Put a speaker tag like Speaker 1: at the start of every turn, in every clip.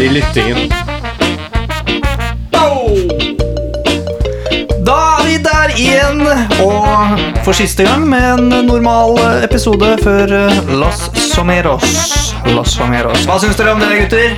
Speaker 1: i lyttingen.
Speaker 2: Da er vi der igjen, og for siste gang med en normal episode før eh, Los Someros. Los Someros. Hva syns dere om det, gutter?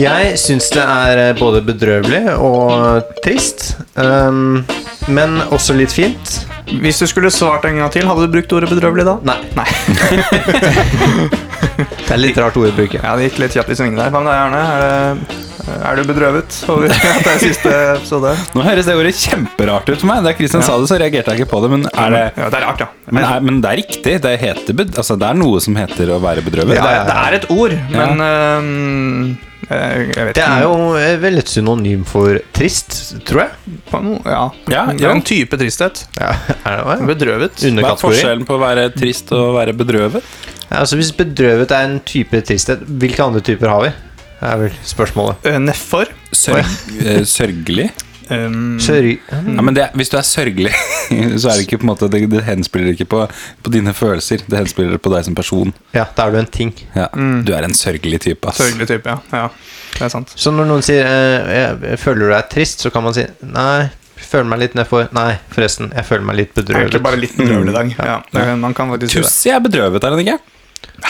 Speaker 1: Jeg syns det er eh, både bedrøvelig og trist, ehm, men også litt fint.
Speaker 2: Hvis du skulle svart en gang til, hadde du brukt ordet bedrøvelig da?
Speaker 1: Nei,
Speaker 2: Nei.
Speaker 1: det er litt rart ord å bruke.
Speaker 2: Ja, det gikk litt kjapt i svingene der. Hva med deg, Arne? Er, det, er du bedrøvet over at det er siste episode?
Speaker 3: Nå høres det ordet kjemperart ut for meg. Da Kristian sa det, så reagerte jeg ikke på det. Men er det
Speaker 2: Ja, det er rart, ja.
Speaker 3: men, er, men det er riktig. Det, heter bed, altså, det er noe som heter å være bedrøvet.
Speaker 2: Det
Speaker 3: Det
Speaker 2: er, det er et ord, men eh, jeg jeg vet
Speaker 1: Det
Speaker 2: ikke.
Speaker 1: er jo eh, vel et synonym for trist, tror jeg.
Speaker 2: På noe- Ja.
Speaker 3: Ja,
Speaker 2: det er
Speaker 3: jo.
Speaker 2: en type tristhet.
Speaker 1: Ja, er det det?
Speaker 2: Bedrøvet.
Speaker 3: Hva er
Speaker 1: Underkategori.
Speaker 3: forskjellen på å være trist og å være bedrøvet?
Speaker 1: Ja, altså hvis bedrøvet er en type tristhet, hvilke andre typer har vi? Det er vel spørsmålet.
Speaker 2: Eh, Nedfor.
Speaker 3: Sørg, eh, sørgelig?
Speaker 2: Um,
Speaker 1: Sørg...
Speaker 3: Ja, men det, er- hvis du er sørgelig, så er det ikke på en måte Det, det henspiller ikke på, på dine følelser. Det henspiller på deg som person.
Speaker 1: Ja, da er du en ting.
Speaker 3: Ja, Du er en Mm. sørgelig type, ass.
Speaker 2: Sørgelig type, ja. ja. Det er sant.
Speaker 1: Så når noen sier eh, jeg, 'føler du deg trist', så kan man si 'nei, føler meg litt nedfor'. Nei, forresten, jeg føler meg litt
Speaker 2: Det er egentlig bare
Speaker 1: bedrøvet.
Speaker 2: litt bedrøvelig i dag.
Speaker 1: Mm,
Speaker 2: Ja, det, man kan faktisk si det.
Speaker 3: Tussi er bedrøvet, er han ikke?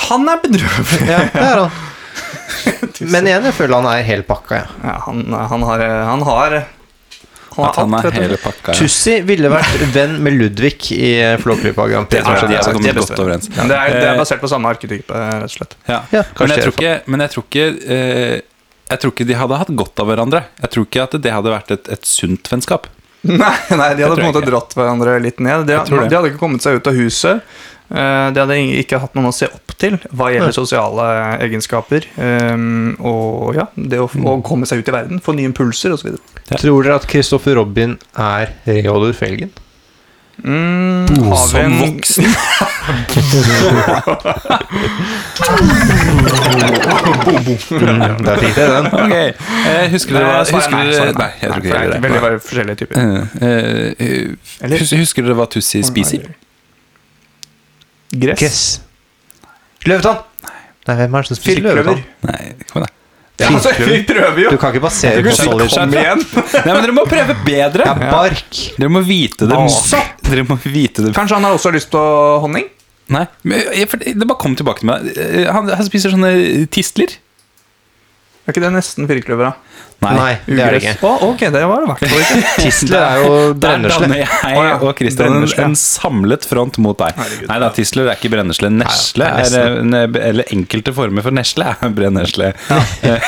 Speaker 2: Han er bedrøvet!
Speaker 1: Ja, det er han. Men igjen, jeg føler han er helt pakka, ja.
Speaker 2: Ja, han, han har Han har, han
Speaker 3: At han
Speaker 2: alt,
Speaker 3: er
Speaker 2: vet du.
Speaker 3: hele pakka. ja.
Speaker 1: Tussi ville vært venn med Ludvig i eh, Flåklypa Grand Prix.
Speaker 3: Det er-
Speaker 1: kanskje.
Speaker 3: de er- kommet
Speaker 2: det beste.
Speaker 3: godt overens.
Speaker 2: Men det, er, det
Speaker 3: Eh,
Speaker 2: er basert på samme arketype, rett og slett.
Speaker 3: Ja.
Speaker 1: Ja, kanskje
Speaker 3: men, jeg
Speaker 1: det er
Speaker 3: tror ikke, men jeg tror ikke eh, Jeg tror ikke de hadde hatt godt av hverandre. Jeg tror ikke at det hadde vært et, et sunt vennskap.
Speaker 2: Nei, nei, de hadde på en
Speaker 3: tror jeg
Speaker 2: måte
Speaker 3: ikke.
Speaker 2: dratt hverandre litt ned. De,
Speaker 3: tror det.
Speaker 2: de hadde ikke kommet seg ut av huset. Eh, De hadde ing- ikke hatt noen å se opp til hva
Speaker 1: Nei.
Speaker 2: gjelder sosiale egenskaper. eh, Og ja, det å, å komme seg ut i verden, få nye impulser osv.
Speaker 1: Tror dere at Kristoffer Robin er Reodor Felgen?
Speaker 2: Mm, har vi
Speaker 3: Som
Speaker 2: en-
Speaker 3: voksen.
Speaker 1: Mm, der fikk dere den.
Speaker 3: Ok, eh, Husker dere hva
Speaker 2: Nei, svaret
Speaker 3: husker
Speaker 2: er nei,
Speaker 3: dere-
Speaker 2: svaret er
Speaker 3: Nei, jeg tror
Speaker 2: Nei,
Speaker 3: ikke
Speaker 2: det
Speaker 3: jeg
Speaker 2: er
Speaker 3: gjør
Speaker 2: Veldig
Speaker 3: det.
Speaker 2: bare forskjellige typer.
Speaker 3: Eh, eh,
Speaker 2: Eller-
Speaker 3: hus- Husker dere hva Tussi spiser?
Speaker 2: Gress.
Speaker 1: Gress. Løvetann! Nei, hvem er det som spiser løvetann?
Speaker 2: Firkløver.
Speaker 3: Nei, kom igjen.
Speaker 2: Ja, altså, vi prøver jo!
Speaker 1: Du kan ikke basere
Speaker 3: Jeg
Speaker 1: på
Speaker 3: kan
Speaker 1: solid
Speaker 3: ikke
Speaker 2: Kom igjen!
Speaker 3: Nei, men dere må prøve bedre!
Speaker 1: Ja, bark.
Speaker 3: Dere må vite det.
Speaker 2: Åh.
Speaker 3: Dere må vite det.
Speaker 2: Kanskje han har også lyst på honning?
Speaker 3: Nei, men, jeg- for det bare kom tilbake til meg. Eh, Han, han spiser sånne tistler.
Speaker 2: Er ikke det nesten firkløver, da?
Speaker 1: Nei, det er det ikke.
Speaker 2: Ugress. Å, ok, det var det i hvert fall ikke.
Speaker 1: Tistler er jo
Speaker 3: Der danner
Speaker 1: brennesle.
Speaker 2: Å
Speaker 3: jeg
Speaker 2: ja,
Speaker 3: og Christian en,
Speaker 2: brennesle, ja.
Speaker 3: en samlet front mot deg.
Speaker 2: Herregud.
Speaker 3: Nei da, tisler er ikke brennesle. Nesle
Speaker 1: Nei, det
Speaker 3: er
Speaker 1: er
Speaker 3: en, Eller enkelte former for nesle er brennesle.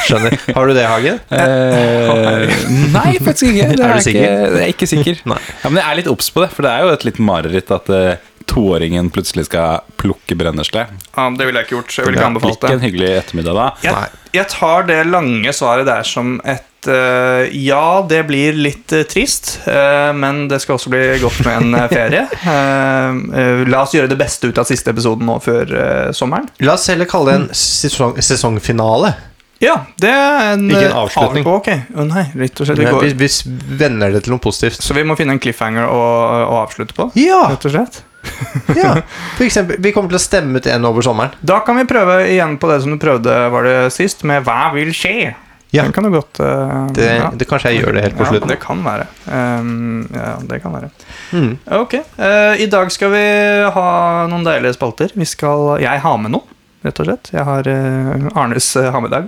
Speaker 1: Skjønner. Har du det, Hagen?
Speaker 3: Eh, nei, faktisk
Speaker 1: Er
Speaker 3: ikke. Det er,
Speaker 1: du
Speaker 3: ikke-
Speaker 1: sikker?
Speaker 3: Jeg er ikke sikker.
Speaker 1: Nei.
Speaker 3: Ja, men jeg er litt obs på det, for det er jo et litt mareritt at eh, toåringen plutselig skal plukke brennesle.
Speaker 2: Ja, det ville jeg ikke gjort. så Jeg ville
Speaker 3: Det
Speaker 2: ikke
Speaker 3: er
Speaker 2: anbefalt
Speaker 3: ikke
Speaker 2: det.
Speaker 3: en hyggelig ettermiddag da.
Speaker 1: Nei.
Speaker 2: Jeg, jeg tar det lange svaret der som et eh, ja, det blir litt eh, trist, eh, men det skal også bli godt med en eh, ferie. Eh, eh, la oss gjøre det beste ut av siste episoden nå før eh, sommeren.
Speaker 1: La oss heller kalle det en sesong, sesongfinale.
Speaker 2: Ja, det er en
Speaker 1: Ikke en
Speaker 2: eh,
Speaker 1: avslutning.
Speaker 2: av- Ok, Å, nei, rett og slett. Vi
Speaker 1: Men
Speaker 2: går.
Speaker 1: Vi, vi s- vender det til noe positivt.
Speaker 2: Så vi må finne en cliffhanger å, å avslutte på,
Speaker 1: Ja!
Speaker 2: rett og slett.
Speaker 1: ja. For eksempel, vi kommer til å stemme ut en over sommeren.
Speaker 2: Da kan vi prøve igjen på det som du prøvde var det sist, med 'Hva vil skje?'
Speaker 1: Ja.
Speaker 2: Det kan du godt eh,
Speaker 1: Det,
Speaker 2: ja.
Speaker 1: det Kanskje jeg gjør det helt på
Speaker 2: Ja,
Speaker 1: slutten.
Speaker 2: det kan være. Um, ja, det kan være.
Speaker 1: Mm.
Speaker 2: Ok. eh, I dag skal vi ha noen deilige spalter. Vi skal Jeg har med noe, rett og slett. Jeg har eh, Arnes uh, ha med-dag.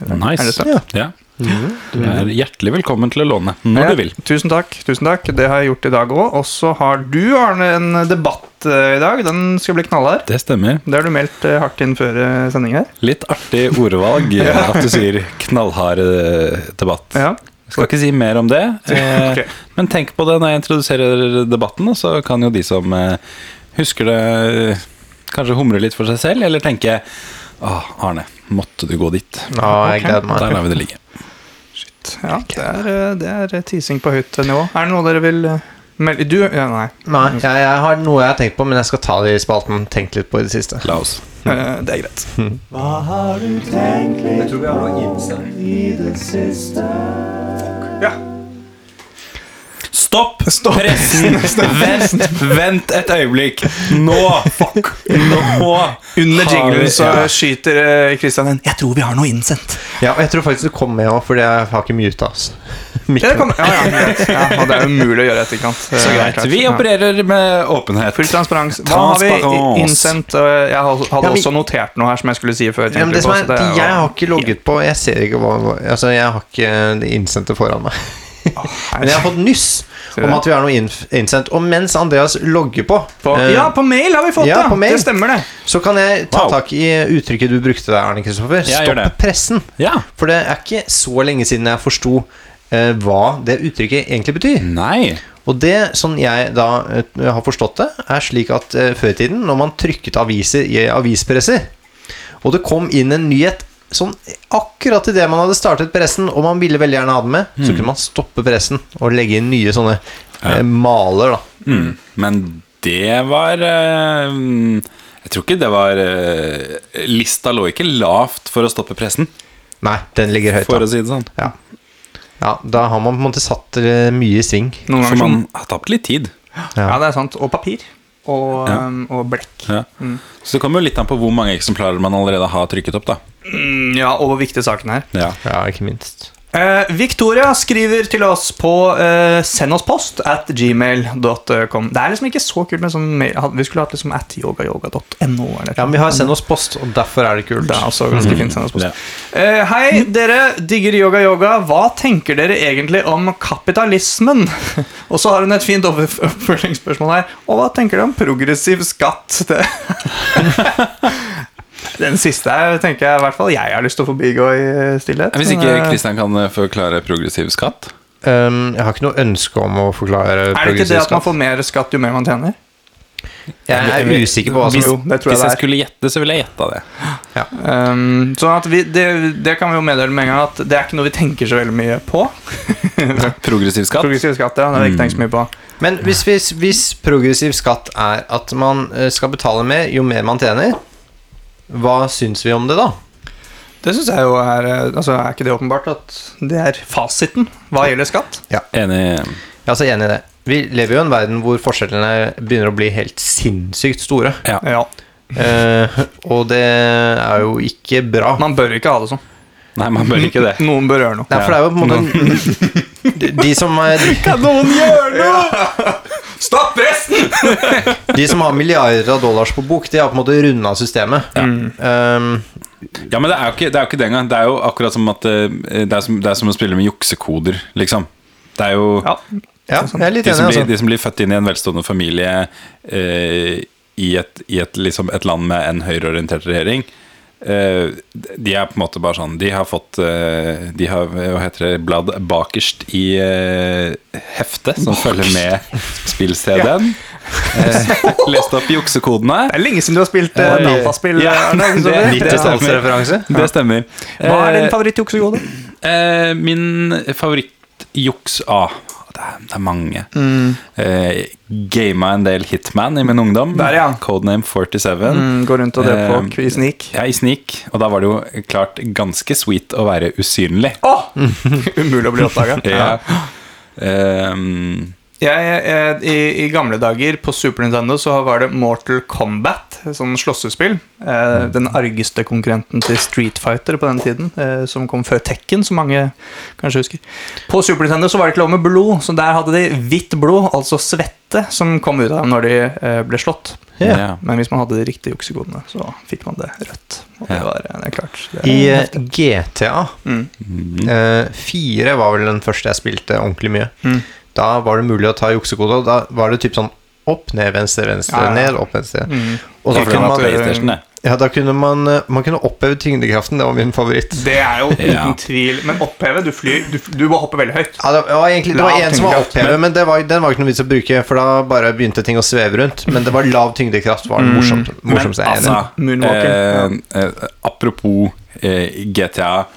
Speaker 2: Er det
Speaker 3: Nice.
Speaker 2: sant?
Speaker 3: Ja.
Speaker 1: Mm.
Speaker 3: Du er hjertelig velkommen til å låne når
Speaker 2: Ja,
Speaker 3: du vil.
Speaker 2: Tusen takk. tusen takk Det har jeg gjort i dag òg. Og så har du, Arne, en debatt eh, i dag. Den skal bli knallhard.
Speaker 3: Det stemmer.
Speaker 2: Det har du meldt eh, hardt inn før eh, sending her.
Speaker 3: Litt artig ordvalg eh, at du sier knallhard eh, debatt.
Speaker 2: Ja.
Speaker 3: Jeg skal ikke si mer om det, eh,
Speaker 2: Ok.
Speaker 3: men tenk på det når jeg introduserer debatten, og så kan jo de som eh, husker det, eh, kanskje humre litt for seg selv, eller tenke Åh, Arne, måtte du gå dit?
Speaker 1: Ja, jeg
Speaker 2: Ok.
Speaker 1: gleder
Speaker 3: Der
Speaker 1: meg.
Speaker 3: lar vi det ligge.
Speaker 2: ja det, er, eh, det er teasing på høyt nivå. Er det noe dere vil eh, melde Du? Ja, nei.
Speaker 1: Nei, jeg, jeg har noe jeg har tenkt på, men jeg skal ta det i spalten. Tenkt litt på i det siste.
Speaker 3: La oss.
Speaker 2: Eh, det er greit.
Speaker 3: Hmm. Stopp! Stopp, pressen! Vent, vent et øyeblikk! Nå! Fuck! Nå!
Speaker 2: Under
Speaker 3: Har vi-
Speaker 2: jinglen så
Speaker 3: ja.
Speaker 2: skyter eh, Christian en 'Jeg tror vi har noe innsendt'.
Speaker 1: Ja, og jeg tror faktisk det kom med òg, fordi jeg har ikke muta. Altså.
Speaker 2: Ja, det kan, ja, ja, greit. ja, og det er umulig å gjøre i etterkant. Eh,
Speaker 3: Så greit. Vi
Speaker 2: Ja.
Speaker 3: opererer med åpenhet.
Speaker 2: Full transparens. Hva har vi i- innsendt? Eh, Jeg hadde
Speaker 1: Ja, men-
Speaker 2: også notert noe her som jeg skulle si før.
Speaker 1: Ja, men det som
Speaker 2: tenkte
Speaker 1: er,
Speaker 2: jeg på, så det
Speaker 1: jeg har
Speaker 2: var-
Speaker 1: ikke logget på. Jeg ser ikke hva Altså, jeg har ikke det innsendte foran meg. Men jeg har fått nyss
Speaker 2: Ser du
Speaker 1: om
Speaker 2: det?
Speaker 1: at vi har noe innf- innsendt. Og mens Andreas logger på,
Speaker 2: på,
Speaker 1: eh,
Speaker 2: Ja, på mail har vi fått
Speaker 1: ja,
Speaker 2: det!
Speaker 1: på mail.
Speaker 2: Det stemmer, det.
Speaker 1: så kan jeg ta
Speaker 3: Wow.
Speaker 1: tak i uttrykket du brukte der, Arne Kristoffer.
Speaker 3: Ja, gjør
Speaker 1: Stopp
Speaker 3: det.
Speaker 1: pressen.
Speaker 3: Ja.
Speaker 1: For det er ikke så lenge siden jeg forsto eh, hva det uttrykket egentlig betyr.
Speaker 3: Nei.
Speaker 1: Og det, sånn jeg da eh, har forstått det, er slik at eh, før i tiden, når man trykket aviser i avispresser, og det kom inn en nyhet sånn akkurat idet man hadde startet pressen, og man ville veldig gjerne ha den med,
Speaker 2: Mm.
Speaker 1: så kunne man stoppe pressen og legge inn nye sånne eh, maler, da.
Speaker 3: Mm. Men det var eh, Jeg tror ikke det var eh, Lista lå ikke lavt for å stoppe pressen,
Speaker 1: Nei, den ligger høyt,
Speaker 3: for å
Speaker 1: da.
Speaker 3: si det sånn.
Speaker 1: Ja. ja, da har man på en måte satt eh, mye i sving.
Speaker 2: Noen
Speaker 3: For
Speaker 2: ganger
Speaker 3: man
Speaker 2: sånn.
Speaker 3: har tapt litt tid.
Speaker 1: Ja.
Speaker 2: Ja, det er sant. Og papir. Og,
Speaker 3: Ja.
Speaker 2: um, og blekk.
Speaker 3: Ja. Så det kommer jo litt an på hvor mange eksemplarer man allerede har trykket opp, da.
Speaker 2: Mm, Ja, og hvor viktig saken er.
Speaker 3: Ja.
Speaker 1: Ja, ikke minst.
Speaker 2: Eh, Victoria skriver til oss på eh, send oss post at gmail.com. Det er liksom ikke så kult med sånn mail. Vi skulle hatt liksom at yogayoga.no. eller
Speaker 1: Ja, men vi har Send oss post, og derfor er det kult.
Speaker 2: Det er også ganske fint. Send oss post.
Speaker 3: Ja.
Speaker 2: Eh, hei, dere digger yoga-yoga. Hva tenker dere egentlig om kapitalismen? Og så har hun et fint over- oppfølgingsspørsmål her. Og hva tenker dere om progressiv skatt? Det. Den siste her tenker jeg i hvert fall jeg har lyst til å forbigå i eh, stillhet.
Speaker 3: Hvis
Speaker 2: men,
Speaker 3: ikke
Speaker 2: eh,
Speaker 3: Kristian kan eh, forklare progressiv skatt?
Speaker 1: Um, jeg har ikke noe ønske om å forklare
Speaker 2: Er det ikke det
Speaker 1: progressiv
Speaker 2: at man
Speaker 1: skatt.
Speaker 2: får mer skatt jo mer man tjener?
Speaker 1: Jeg er usikker på hva som
Speaker 2: Hvis- Jo, det tror jeg
Speaker 3: Hvis
Speaker 2: det
Speaker 3: jeg
Speaker 2: er.
Speaker 3: skulle gjette, så ville jeg gjetta det.
Speaker 2: Um, sånn at vi, det, det kan vi jo meddele med en gang at det er ikke noe vi tenker så veldig mye på.
Speaker 3: Progressiv skatt?
Speaker 2: Progressiv skatt, Mm. ja. Det har vi ikke tenkt så mye på.
Speaker 1: Men hvis, hvis, hvis progressiv skatt er at man eh, skal betale mer jo mer man tjener, hva syns vi om det da?
Speaker 2: Det synes jeg jo er eh, altså Er ikke det åpenbart at det er fasiten hva gjelder skatt?
Speaker 3: Enig.
Speaker 1: Jeg er altså enig i det. Vi lever jo i en verden hvor forskjellene begynner å bli helt sinnssykt store.
Speaker 3: Ja.
Speaker 2: Ja.
Speaker 1: Eh, og det er jo ikke bra.
Speaker 2: Man bør ikke ha det sånn.
Speaker 3: Nei, man bør ikke det.
Speaker 2: Noen bør gjøre noe.
Speaker 1: Nei, for det er jo på en måte de, de, som, er-
Speaker 2: Kan noen gjøre noe?! Stopp resten!
Speaker 1: de som har milliarder av dollars på bok, de har på en måte runda systemet. Um,
Speaker 3: Ja, men det er jo ikke det, er jo ikke det engang. Det er jo akkurat som at eh, det er som, det er som å spille med juksekoder, liksom. Det er jo
Speaker 2: Ja.
Speaker 1: ja, jeg er litt
Speaker 3: de, som
Speaker 1: enig.
Speaker 3: blir,
Speaker 1: Altså.
Speaker 3: de som blir født inn i en velstående familie eh, i, et, i et, liksom et land med en høyreorientert regjering, eh, de er på en måte bare sånn De har fått eh, De har hva heter det, blad bakerst i eh, heftet som følger med spill-CD-en. Eh, lest opp juksekodene.
Speaker 2: Det er lenge siden du har spilt uh, Nafa-spill.
Speaker 3: Ja,
Speaker 2: Arne, ikke sant?
Speaker 3: det-
Speaker 2: Det-
Speaker 1: 90-tallsreferanse.
Speaker 3: Det stemmer.
Speaker 2: Hva er din
Speaker 3: Eh,
Speaker 2: favorittjuksekode?
Speaker 3: Eh, min favorittjuks ah, det, er- det er mange. Eh, Gama en del Hitman i min ungdom.
Speaker 2: Der, ja.
Speaker 3: Codename 47.
Speaker 2: Mm, Gå rundt og drepe
Speaker 3: Eh,
Speaker 2: folk i snik.
Speaker 3: Jeg er i snik, og da var det jo klart ganske sweet å være usynlig.
Speaker 2: Å! Umulig å bli oppdaga.
Speaker 3: Ja. Ehm,
Speaker 2: Jeg, eh, i, I gamle dager på Super Nintendo så var det Mortal Kombat, sånn slåssespill. Eh,
Speaker 3: Mm.
Speaker 2: den argeste konkurrenten til Street Fighter på den tiden, eh, som kom før Tekken, som mange kanskje husker. På Super Nintendo så var det ikke lov med blod, så der hadde de hvitt blod, altså svette, som kom ut av dem når de eh, ble slått.
Speaker 1: Ja.
Speaker 3: ja.
Speaker 2: Men hvis man hadde de riktige juksekodene, så fikk man det rødt. Og det
Speaker 3: Ja.
Speaker 2: var eh, det er klart. Det
Speaker 1: I
Speaker 2: er
Speaker 1: eh,
Speaker 2: heftig.
Speaker 1: GTA
Speaker 2: Mm.
Speaker 3: Mm.
Speaker 1: Eh, fire var vel den første jeg spilte ordentlig mye.
Speaker 2: Mm.
Speaker 1: Da var det mulig å ta juksekode, og da var det typ sånn opp, ned, venstre, venstre,
Speaker 2: Ja, ja.
Speaker 1: ned, opp, venstre.
Speaker 2: Mm.
Speaker 1: Og da
Speaker 3: Jeg
Speaker 1: kunne
Speaker 3: kunne hatt
Speaker 1: man,
Speaker 3: PlayStation, jeg.
Speaker 1: ja, da kunne man, eh, man kunne oppheve tyngdekraften, det var min favoritt.
Speaker 2: Det er jo uten
Speaker 3: Ja.
Speaker 2: tvil Men oppheve, du flyr Du, du må hoppe veldig høyt.
Speaker 1: Ja, det var egentlig det var
Speaker 2: Lav
Speaker 1: en som var
Speaker 2: tyngdekraft,
Speaker 1: opphevet, men det var, den var ikke noe vits å bruke, for da bare begynte ting å sveve rundt. Men det var lav tyngdekraft var det morsomt, morsomste jeg er enig i.
Speaker 3: altså,
Speaker 2: Moonwalker,
Speaker 3: eh, eh, apropos eh, GTA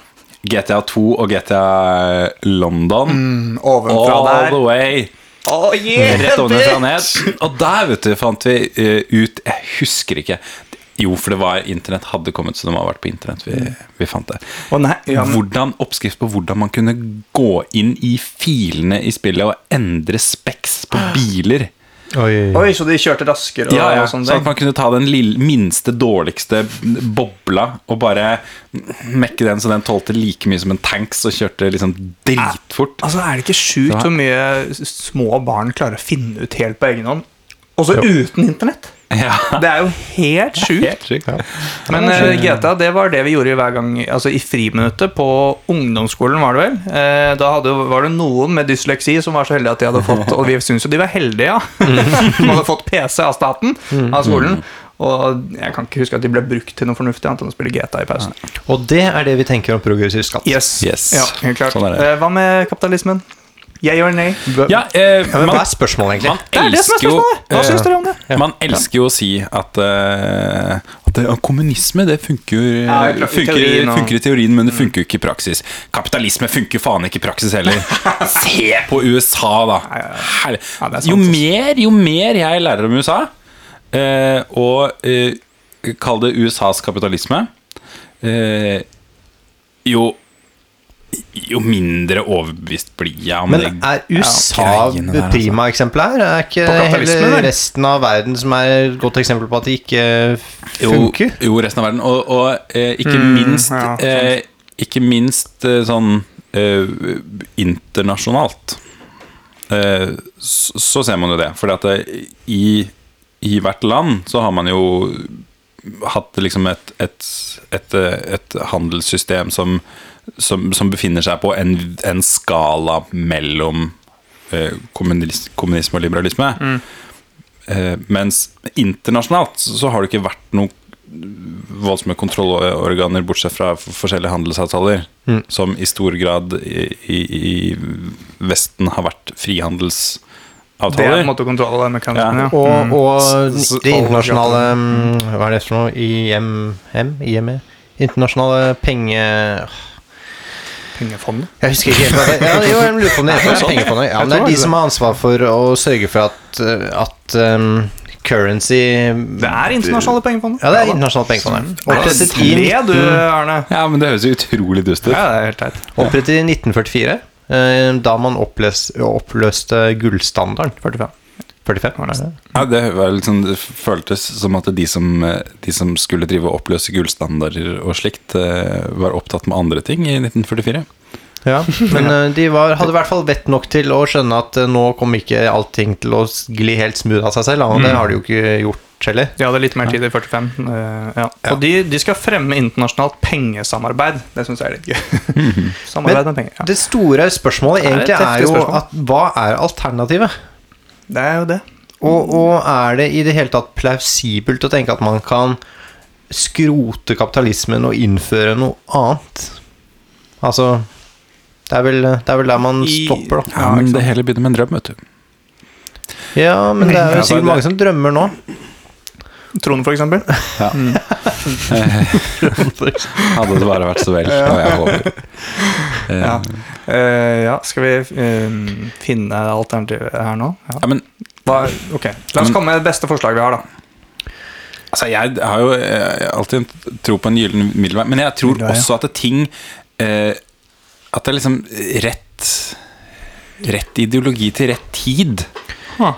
Speaker 3: GTA 2 og GTA London
Speaker 2: Ovenfra
Speaker 3: All
Speaker 2: Mm, der.
Speaker 3: the way
Speaker 2: Oh, yeah,
Speaker 3: Rett ovenfra
Speaker 2: bitch!
Speaker 3: og ned Og der vet du fant vi eh, ut Jeg husker ikke Jo, for det var internett hadde kommet, så det må ha vært på internett vi, vi fant det.
Speaker 2: Å nei, ja, men-
Speaker 3: Hvordan, oppskrift på hvordan man kunne gå inn i filene i spillet og endre speks på biler.
Speaker 1: Oi.
Speaker 2: Oi, så de kjørte raskere og,
Speaker 3: Ja, ja,
Speaker 2: og
Speaker 3: sånn
Speaker 2: sånne
Speaker 3: at
Speaker 2: ting?
Speaker 3: man kunne ta den lille, minste, dårligste bobla og bare mekke den så den tålte like mye som en tanks og kjørte liksom dritfort.
Speaker 2: Altså, er det ikke sjukt
Speaker 3: Ja.
Speaker 2: hvor mye s- små barn klarer å finne ut helt på egen hånd? Også
Speaker 1: Jo.
Speaker 2: uten internett.
Speaker 3: Ja,
Speaker 2: Det er jo helt sjukt.
Speaker 3: helt sjukt.
Speaker 1: Ja.
Speaker 2: Men eh, GTA, det var det vi gjorde hver gang Altså i friminuttet. På ungdomsskolen, var det vel. Eh, da hadde, var det noen med dysleksi som var så heldige at de hadde fått Og vi syns jo de var heldige, ja.
Speaker 3: Mm.
Speaker 2: De hadde fått PC av staten, av skolen. Og jeg kan ikke huske at de ble brukt til noe fornuftig annet enn å spille GTA i pausen.
Speaker 1: Og det er det vi tenker om progressiv skatt.
Speaker 2: Yes.
Speaker 3: Yes.
Speaker 2: Ja, helt klart.
Speaker 3: Sånn er det.
Speaker 2: Eh, hva med kapitalismen? Yeah or nay?
Speaker 1: Hva-
Speaker 3: Ja, eh,
Speaker 1: Ja, men
Speaker 3: man,
Speaker 1: hva er spørsmålet, egentlig?
Speaker 3: man
Speaker 2: Det er det som er
Speaker 3: elsker jo
Speaker 2: spørsmålet! Hva syns dere om det?
Speaker 3: eh, Man elsker jo å si at, eh, at det, ja, kommunisme det funker, jo-
Speaker 2: Ja, i pra- i
Speaker 3: funker,
Speaker 2: teorien og-
Speaker 3: funker i teorien, men det funker jo ikke i praksis. Kapitalisme funker jo faen ikke i praksis heller. Se på USA, da! Hel-
Speaker 2: Ja, det er sant,
Speaker 3: jo
Speaker 2: ass.
Speaker 3: mer, jo mer jeg lærer om USA, eh, og eh, kall det USAs kapitalisme, eh, jo jo mindre overbevist blir jeg om
Speaker 1: Men
Speaker 3: det
Speaker 1: er USA
Speaker 3: greiene der, altså.
Speaker 1: primaeksempelet her? Er ikke
Speaker 2: På kapitalismen,
Speaker 1: hele
Speaker 2: eller?
Speaker 1: resten av verden som er et godt eksempel på at det ikke funker?
Speaker 3: Jo, jo resten av verden. Og, og eh, ikke
Speaker 2: Mm,
Speaker 3: minst,
Speaker 2: ja, sant.
Speaker 3: eh, ikke minst eh, sånn eh, internasjonalt. Eh, så, så ser man jo det. For i, i hvert land så har man jo hatt liksom et, et, et, eh, et handelssystem som, som, som befinner seg på en, en skala mellom eh, kommunis, kommunisme og liberalisme.
Speaker 2: Mm.
Speaker 3: Eh, mens internasjonalt så så har det ikke vært noen voldsomme kontrollorganer, bortsett fra f- forskjellige handelsavtaler, som i stor grad i, i, i Vesten har vært
Speaker 2: Det er på
Speaker 3: frihandelsavtaler.
Speaker 2: en måte kontrollmekanismen,
Speaker 3: Ja.
Speaker 2: ja.
Speaker 1: Og,
Speaker 2: Mm.
Speaker 1: og
Speaker 3: S-
Speaker 1: det internasjonale mm, Hva er det for noe? IMM? IME? Internasjonale penge...
Speaker 2: Pengefondet.
Speaker 1: Jeg husker ikke helt hva det ja, Jo, jeg lurer på om det heter pengefondet. Ja, men det
Speaker 2: Jeg tror
Speaker 1: er de
Speaker 2: det.
Speaker 1: som har ansvar for å sørge for at, at um, currency
Speaker 2: Det er internasjonale pengefondet.
Speaker 1: Ja, det er internasjonalt pengefond. ja. Opprettet i,
Speaker 2: Le du, Arne.
Speaker 3: Ja, men det høres jo utrolig dust ut.
Speaker 2: Ja, det er helt teit.
Speaker 1: opprettet i 1944, eh, da man oppløs, oppløste gullstandarden.
Speaker 2: 45.
Speaker 1: 45, var det?
Speaker 3: Ja, det, var litt sånn- det føltes som at de som, eh, de som skulle drive og oppløse gullstandarder og slikt, eh, var opptatt med andre ting i 1944.
Speaker 1: Ja, men eh, de var, hadde i hvert fall vett nok til å skjønne at eh, nå kommer ikke allting til å gli helt smooth av seg selv, og
Speaker 2: Mm.
Speaker 1: det har de jo ikke gjort heller.
Speaker 2: De hadde litt mer tid i 45. eh, ja. Og de, de skal fremme internasjonalt pengesamarbeid. Det syns jeg er litt gøy. Samarbeid med penger. Ja.
Speaker 1: Det store spørsmålet
Speaker 2: Det er et
Speaker 1: egentlig er
Speaker 2: heftig
Speaker 1: jo
Speaker 2: spørsmål.
Speaker 1: at hva er alternativet?
Speaker 2: Det er jo det.
Speaker 1: Og, og er det i det hele tatt plausibelt å tenke at man kan skrote kapitalismen og innføre noe annet? Altså Det er vel, det er vel der man
Speaker 2: I-
Speaker 1: stopper, da.
Speaker 3: Ja, men det hele begynner med en drøm, vet du.
Speaker 1: Ja, men det er
Speaker 3: Ja,
Speaker 1: jo sikkert
Speaker 3: det-
Speaker 1: mange som drømmer nå.
Speaker 2: Trond, for eksempel.
Speaker 3: Hadde det bare vært så vel. Og jeg håper. Eh,
Speaker 2: Ja. Eh, ja, skal vi eh, finne alternativet her nå? Ja.
Speaker 3: Ja, men
Speaker 2: Hva, ok, La
Speaker 1: Mm.
Speaker 2: oss komme med det beste forslaget vi har, da.
Speaker 3: Altså, jeg har jo eh, alltid en tro på en gyllen middelvei, men jeg tror
Speaker 2: Middelvei, ja.
Speaker 3: også at det er ting eh, At det er liksom rett Rett ideologi til rett tid,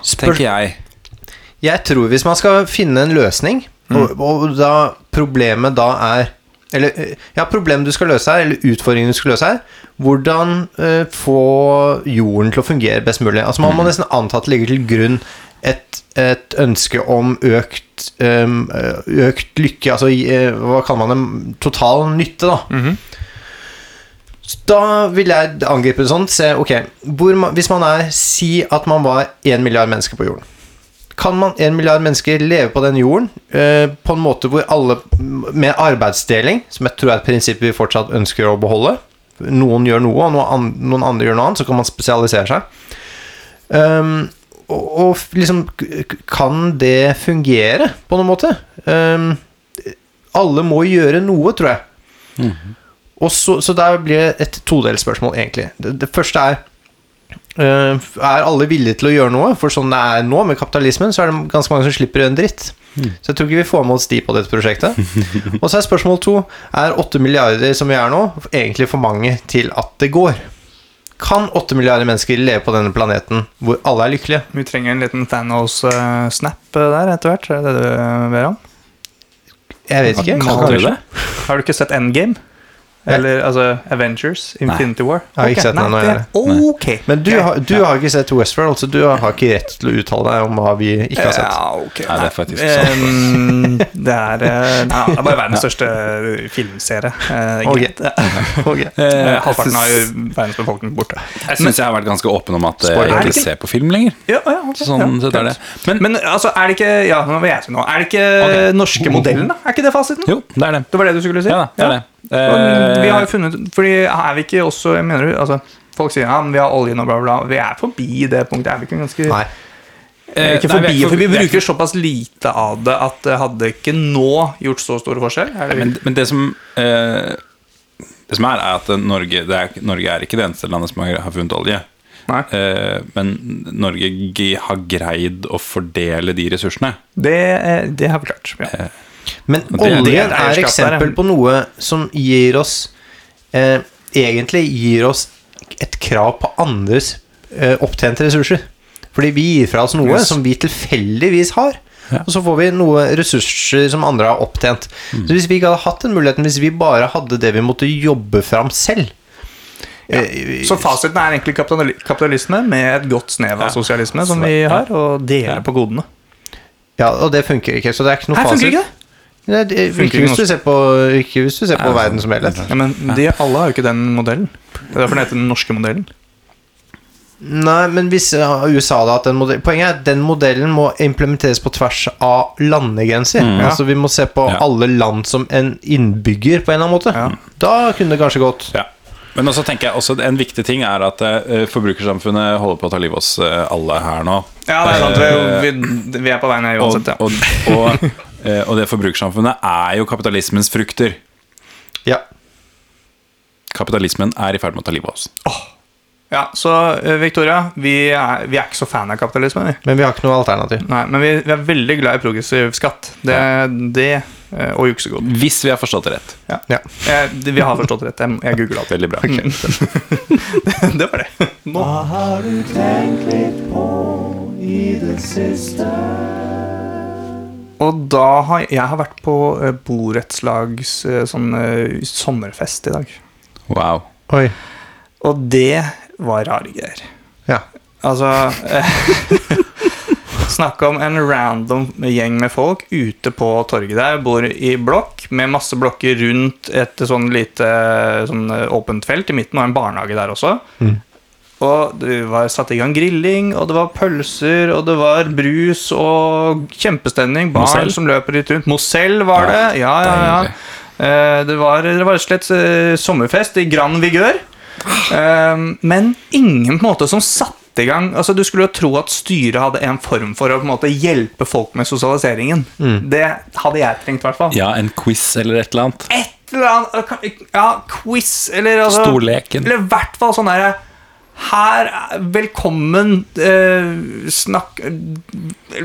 Speaker 1: Spør,
Speaker 3: tenker jeg.
Speaker 1: Jeg tror hvis man skal finne en løsning, og, og da problemet da er eller, eh, ja, problemet du skal løse her, eller utfordringen du skal løse her Hvordan eh, få jorden til å fungere best mulig. Altså Man må nesten anta at det ligger til grunn et, et ønske om økt, em, eh, økt lykke Altså eh, hva kaller man det? Total nytte, da. Så Da vil jeg angripe det sånn. Se, ok, hvor, ma- Hvis man er Si at man var én milliard mennesker på jorden. Kan man én milliard mennesker leve på den jorden eh, på en måte hvor alle Med arbeidsdeling, som jeg tror er et prinsipp vi fortsatt ønsker å beholde. Noen gjør noe, og noe an, noen andre gjør noe annet. Så kan man spesialisere seg. Ehm, og, og liksom k- k- Kan det fungere på noen måte? Ehm, alle må gjøre noe, tror jeg. Og så, så der blir det et todelsspørsmål, egentlig. Det, det første er eh, Er alle villige til å gjøre noe? For sånn det er nå, med kapitalismen, så er det ganske mange som slipper å gjøre en dritt.
Speaker 3: Hmm.
Speaker 1: Så jeg tror ikke vi får med oss de på dette prosjektet. Og så er spørsmål to Er 8 milliarder som vi er nå, egentlig for mange til at det går? Kan 8 milliarder mennesker leve på denne planeten hvor alle er lykkelige?
Speaker 2: Vi trenger en liten Thanos-snap eh, der etter hvert. Er det det du ber om?
Speaker 1: Jeg vet ikke.
Speaker 3: Kan dere det?
Speaker 2: Har du ikke sett Endgame? Eller altså Avengers? Infinity War?
Speaker 1: Jeg har ikke
Speaker 2: Ok,
Speaker 1: sett den
Speaker 2: nei,
Speaker 1: ennå,
Speaker 2: det- Ok.
Speaker 1: Men du, har- du har ikke sett Westworld, så du har ikke rett til å uttale deg om hva vi ikke har sett.
Speaker 2: Ja, ok.
Speaker 3: Nei, det er faktisk
Speaker 2: Ehm, det er, eh, nei, det er bare verdens største filmserie. Eh,
Speaker 1: Ok.
Speaker 2: greit.
Speaker 1: Ok.
Speaker 2: Eh,
Speaker 3: Eh,
Speaker 2: Halvparten av
Speaker 3: jeg syns-
Speaker 2: verdens befolkning borte.
Speaker 3: Jeg syns jeg har vært ganske åpen om at eh,
Speaker 1: Spoiler.
Speaker 3: jeg
Speaker 2: Er det
Speaker 3: ikke
Speaker 2: ikke-
Speaker 3: ser på film lenger.
Speaker 2: Ja, ja, ok,
Speaker 3: Sånn
Speaker 2: ja,
Speaker 3: sett er det.
Speaker 2: Men, men altså, er det ikke Ja, nå vil jeg si noe. Er det ikke
Speaker 3: Ok.
Speaker 2: norske modellen, da? Er ikke det fasiten?
Speaker 3: Jo, det er det.
Speaker 2: Det var det du skulle si?
Speaker 3: Ja da, det er det.
Speaker 2: Men Vi har jo
Speaker 3: Eh,
Speaker 2: funnet Fordi er vi ikke også jeg mener, altså, Folk sier ja, men vi har oljen og bla, bla. bla. Vi er forbi det punktet. Er vi ikke ganske
Speaker 1: Nei.
Speaker 3: eh,
Speaker 2: Ikke
Speaker 3: nei,
Speaker 2: forbi,
Speaker 3: er
Speaker 2: for vi
Speaker 3: er
Speaker 2: bruker såpass lite av det at det hadde ikke nå gjort så stor forskjell. Er det
Speaker 3: Men, men det som eh, Det som er, er at Norge, det er, Norge er ikke det eneste landet som har har funnet olje.
Speaker 2: Nei.
Speaker 3: Eh, men Norge g- har greid å fordele de ressursene.
Speaker 2: Det, eh, det har vi klart. Ja.
Speaker 1: Men
Speaker 3: Og det- det
Speaker 2: er et
Speaker 1: oljen
Speaker 2: eierskap
Speaker 1: er
Speaker 2: der,
Speaker 1: eksempel
Speaker 2: ja.
Speaker 1: på noe som gir oss eh, Egentlig gir oss et krav på andres eh, opptjente ressurser. Fordi vi gir fra oss noe
Speaker 3: Yes.
Speaker 1: som vi tilfeldigvis har. Og så får vi noe ressurser som andre har opptjent.
Speaker 2: Mm.
Speaker 1: Så hvis vi ikke hadde hatt den muligheten, hvis vi bare hadde det vi måtte jobbe fram selv eh,
Speaker 2: Så fasiten er egentlig kapitali- kapitalisme med et godt snev av
Speaker 3: Ja.
Speaker 2: sosialisme, som
Speaker 3: Så-
Speaker 2: vi
Speaker 3: ja.
Speaker 2: har, og deler
Speaker 3: Ja.
Speaker 2: på godene.
Speaker 1: Ja, og det funker ikke. Så det er ikke noe
Speaker 2: Her funker
Speaker 1: fasit.
Speaker 2: ikke det!
Speaker 1: Nei, det,
Speaker 2: Funker
Speaker 1: ikke,
Speaker 2: ikke
Speaker 1: hvis du
Speaker 2: norsk.
Speaker 1: ser på, ikke hvis du ser på
Speaker 3: Nei,
Speaker 1: verden som helhet.
Speaker 2: Ja, men de, alle har jo ikke den modellen. Det er derfor den heter den norske modellen.
Speaker 1: Nei, men hvis ja, USA hadde hatt den modellen Poenget er at den modellen må implementeres på tvers av landegrenser.
Speaker 2: Mm. Ja.
Speaker 1: Altså Vi må se på
Speaker 3: Ja.
Speaker 1: alle land som en innbygger, på en eller annen måte.
Speaker 2: Ja.
Speaker 1: Da kunne det kanskje gått.
Speaker 3: Ja. Men også tenker jeg også en viktig ting er at eh, forbrukersamfunnet holder på å ta livet av oss eh, alle her nå. Eh,
Speaker 2: Ja, det er sant. Vi, vi, vi er på vei ned uansett, ja.
Speaker 3: og, og, og, eh, og det forbrukersamfunnet er jo kapitalismens frukter.
Speaker 1: Ja.
Speaker 3: Kapitalismen er i ferd med å ta livet av oss.
Speaker 2: ja så eh, Victoria, vi er, vi er ikke så fan av kapitalisme, vi.
Speaker 1: Men vi har ikke noe alternativ.
Speaker 2: Nei, men vi, vi er veldig glad i progressiv skatt. Det, det eh, og juksegod.
Speaker 3: Hvis vi har forstått det rett.
Speaker 2: Ja.
Speaker 1: Ja.
Speaker 2: Jeg- Vi har forstått rett. Jeg, jeg googla det.
Speaker 3: Veldig bra.
Speaker 2: Mm. det var det. Nå. Og da har jeg har vært på eh, borettslags eh, sånn, eh, sommerfest i dag.
Speaker 3: Wow.
Speaker 1: Oi.
Speaker 2: Og det var rare greier.
Speaker 1: Ja.
Speaker 2: Altså eh, Snakke om en random gjeng med folk ute på torget der. Bor i blokk med masse blokker rundt et sånn lite sånn eh, åpent felt. I midten var en barnehage der også. Og det var satt i gang grilling, og det var pølser, og det var brus og kjempestemning. Barn
Speaker 3: Moselle?
Speaker 2: som løper litt rundt. Mosell var det. Ja, ja, ja.
Speaker 3: Deilig.
Speaker 2: Eh, Det var, det var rett og slett eh, sommerfest i grann vigør. Ehm, men ingen på en måte som satte i gang altså Du skulle jo tro at styret hadde en form for å på en måte hjelpe folk med sosialiseringen.
Speaker 1: Mm.
Speaker 2: Det hadde jeg trengt, i hvert fall.
Speaker 3: Ja, en quiz eller et eller annet.
Speaker 2: Et eller annet Ja, quiz eller altså,
Speaker 3: Storleken.
Speaker 2: Eller i hvert fall sånn derre her, er- velkommen eh, Snakk eh,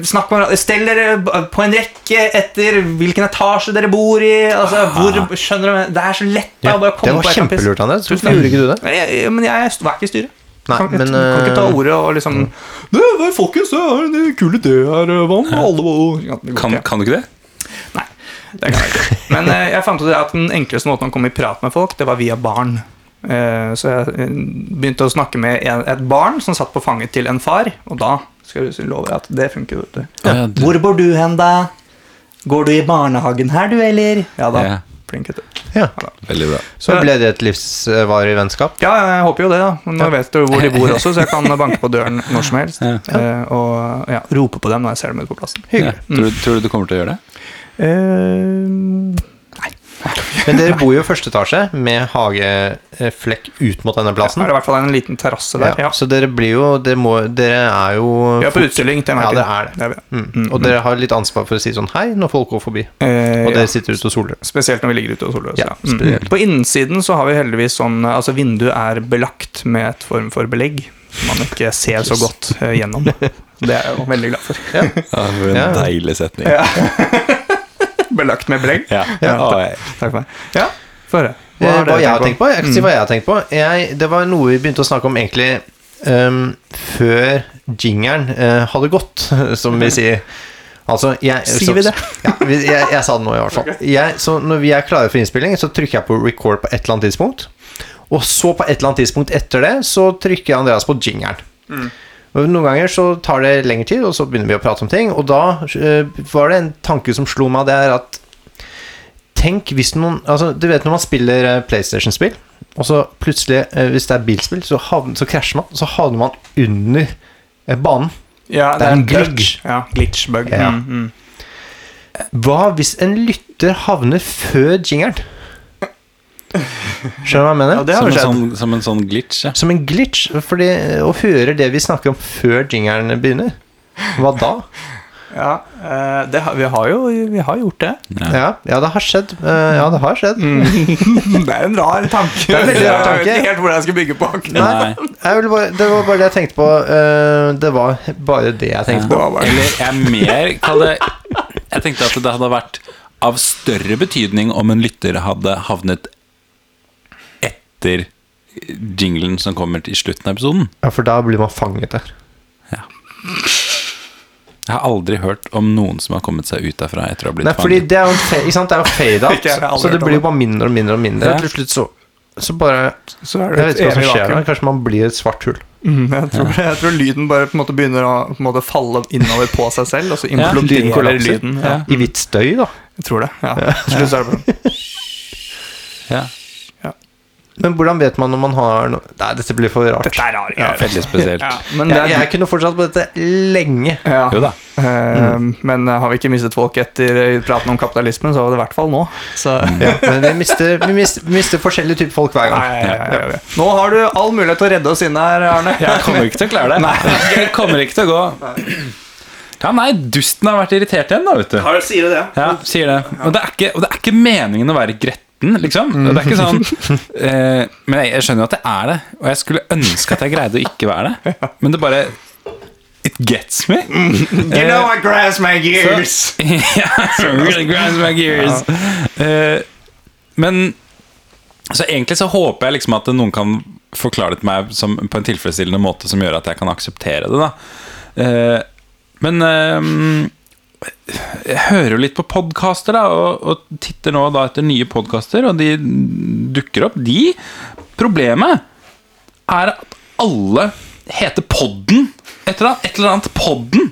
Speaker 2: Snakk med hverandre. Stell dere på en rekke etter hvilken etasje dere bor i. Altså, hvor, skjønner du, det er så lett da,
Speaker 1: Ah. Ja,
Speaker 2: å bare
Speaker 1: det var
Speaker 2: komme på et eller annet
Speaker 1: kjempelurt, Anders.
Speaker 2: Tusen
Speaker 1: Hvorfor
Speaker 2: takk.
Speaker 1: gjorde ikke du det?
Speaker 2: Men jeg, men jeg st- var ikke i styret.
Speaker 1: Nei,
Speaker 2: kan, ikke-
Speaker 1: men,
Speaker 2: kan ikke ta
Speaker 1: eh,
Speaker 2: ordet og liksom Det er folkens, det er en kul idé her, eh, hva om alle må ja, det går
Speaker 3: Kan,
Speaker 2: ikke.
Speaker 3: kan du ikke det?
Speaker 2: Nei, det kan jeg ikke. Men eh, jeg fant ut at den enkleste måten å komme i prat med folk, det var via barn. Eh, så jeg eh, begynte å snakke med en, et barn som satt på fanget til en far, og da skal jeg love at det funker. Vet du.
Speaker 3: Ja, ja, du-
Speaker 2: Hvor bor du hen, da? Går du i barnehagen her, du, eller? Ja da.
Speaker 3: Ja.
Speaker 2: Flink gutt.
Speaker 1: Ja.
Speaker 3: Veldig bra.
Speaker 1: Så ble det et livsvarig vennskap.
Speaker 2: Ja, jeg håper jo det, da. Men Nå vet du hvor de bor også, så jeg kan banke på døren når som helst.
Speaker 3: Ja.
Speaker 2: eh, Og ja, rope på dem når jeg ser dem ute på plassen.
Speaker 3: Ja. Tror, du, tror du du kommer til å gjøre det?
Speaker 2: Eh,
Speaker 1: Men dere bor jo i første etasje med hageflekk ut mot denne
Speaker 2: er
Speaker 1: plassen.
Speaker 2: det i hvert fall en liten terrasse der.
Speaker 1: Ja,
Speaker 2: Ja.
Speaker 1: så dere blir jo Dere, må, dere er jo
Speaker 2: Vi er på utstilling til enhver
Speaker 1: Ja,
Speaker 2: tid.
Speaker 1: det er det.
Speaker 2: er vi.
Speaker 1: Mm. Og dere har litt ansvar for å si sånn hei når folk går forbi.
Speaker 2: Eh,
Speaker 1: Og
Speaker 2: ja.
Speaker 1: dere sitter ute og soler.
Speaker 2: Spesielt når vi ligger ute og soler oss.
Speaker 1: Ja,
Speaker 2: Ja, Mm.
Speaker 1: spesielt.
Speaker 2: På innsiden så har vi heldigvis sånn Altså vinduet er belagt med et form for belegg. man ikke ser så godt eh, gjennom. Det er jeg jo veldig glad for.
Speaker 3: Ja, det var en
Speaker 1: Ja.
Speaker 3: deilig setning.
Speaker 2: Ja. Belagt med belegg.
Speaker 3: Ja.
Speaker 2: Ja.
Speaker 3: Å, jeg-
Speaker 2: Takk for meg. Ja, få høre.
Speaker 1: Eh, Hva,
Speaker 2: har dere
Speaker 1: jeg har tenkt på? Mm. Jeg kan si hva jeg har tenkt på. Jeg, det var noe vi begynte å snakke om egentlig ehm, før jingeren eh, hadde gått, som vi sier. Altså, jeg,
Speaker 2: Sier vi det?
Speaker 1: ja, vi- jeg, jeg sa det nå, i hvert fall. Jeg, så når vi er klare for innspilling, så trykker jeg på record på et eller annet tidspunkt. Og så på et eller annet tidspunkt etter det, så trykker Andreas på jingeren.
Speaker 2: Mm.
Speaker 1: Og Noen ganger så tar det lengre tid, og så begynner vi å prate om ting. Og da eh, var det en tanke som slo meg, det er at Tenk hvis noen altså, Du vet når man spiller eh, PlayStation-spill, og så plutselig, eh, hvis det er bilspill, så, havn- så krasjer man, og så havner man under eh, banen.
Speaker 2: Ja,
Speaker 1: Det er en glitch.
Speaker 2: Ja, glitch-bug.
Speaker 1: Ja.
Speaker 2: Mm, mm.
Speaker 1: Hva hvis en lytter havner før jingeren? Skjønner du hva jeg mener?
Speaker 2: Ja, det har
Speaker 3: Som,
Speaker 2: jo
Speaker 3: en
Speaker 2: skjedd.
Speaker 3: sånn, som en sånn glitch, ja.
Speaker 1: Som en glitch, fordi å høre det vi snakker om før jingeren begynner, hva da?
Speaker 2: Ja, eh, det, har- vi har jo vi har gjort det.
Speaker 3: ja. Mm.
Speaker 1: Ja, ja det har skjedd. Eh, Ja, det har skjedd.
Speaker 2: det er en rar tanke.
Speaker 1: er en veldig rar
Speaker 2: Jeg vet
Speaker 1: tanke.
Speaker 2: ikke helt hvordan jeg skal bygge på akkurat.
Speaker 1: Nei,
Speaker 3: Nei.
Speaker 1: jeg ville bare, det var bare det jeg tenkte på. eh, Det var bare det jeg tenkte på.
Speaker 2: Det var bare-
Speaker 3: Eller jeg mer kaller Jeg tenkte at det hadde vært av større betydning om en lytter hadde havnet etter jinglen som kommer til i slutten av episoden.
Speaker 1: Ja, for da blir man fanget der.
Speaker 3: Jeg har aldri hørt om noen som har kommet seg ut derfra etter å ha blitt
Speaker 1: Nei, fordi
Speaker 3: fanget.
Speaker 1: det er jo en fa- ikke sant? Det er jo
Speaker 2: Ikke jeg, jeg har
Speaker 1: fade-out,
Speaker 2: aldri
Speaker 1: så det
Speaker 2: hørt om
Speaker 1: blir jo
Speaker 2: det.
Speaker 1: bare mindre og mindre og mindre.
Speaker 3: Ja.
Speaker 1: Til slutt så, så bare
Speaker 2: Så er
Speaker 1: Jeg vet ikke
Speaker 2: det et
Speaker 1: hva som
Speaker 2: evig
Speaker 1: skjer.
Speaker 2: vakuum.
Speaker 1: men Kanskje man blir et svart hull.
Speaker 2: Mm, jeg, tror, jeg tror lyden bare på en måte begynner å på en måte falle innover på seg selv, og så
Speaker 3: Ja,
Speaker 2: imploderer
Speaker 1: lyden
Speaker 2: lyden.
Speaker 1: kollapser.
Speaker 2: Ja,
Speaker 1: I hvitt støy, da.
Speaker 2: jeg tror det. Ja. Til slutt så er det bare sånn.
Speaker 3: Ja,
Speaker 1: Men hvordan vet man når man har noe Nei, dette blir for rart.
Speaker 2: Dette er rare greier.
Speaker 3: veldig spesielt.
Speaker 2: Ja, men, det
Speaker 1: Jeg, jeg
Speaker 2: er,
Speaker 1: kunne fortsatt på dette lenge.
Speaker 2: ja.
Speaker 3: Jo da.
Speaker 2: Eh, men eh, har vi ikke mistet folk etter eh, praten om kapitalismen, så var det i hvert fall nå. Så,
Speaker 1: Ja, men vi mister, vi mister, vi mister forskjellige typer folk hver
Speaker 2: Nei,
Speaker 1: gang.
Speaker 2: ja, ja, ja. Nå har du all mulighet til å redde oss inn her, Arne.
Speaker 3: Jeg kommer ikke til å klare det. Jeg kommer ikke til å gå. Ja, nei, dusten har vært irritert igjen, da, vet du.
Speaker 2: Har, sier du det?
Speaker 3: Ja, sier det. Og det er ikke, og det er ikke meningen å være gretten, liksom. Og Det er ikke sånn eh, Men jeg, jeg skjønner jo at det er det, og jeg skulle ønske at jeg greide å ikke være det, men det bare It gets me.
Speaker 2: You know I grasp my gears.
Speaker 3: Yeah, really grinds my gears. Eh, men så egentlig så håper jeg liksom at noen kan forklare det til meg som, på en tilfredsstillende måte som gjør at jeg kan akseptere det, da. Eh, men eh, jeg hører jo litt på podkaster, da, og, og titter nå da etter nye podkaster, og de dukker opp, de. Problemet er at alle heter Podden. Et eller annet, et eller annet Podden.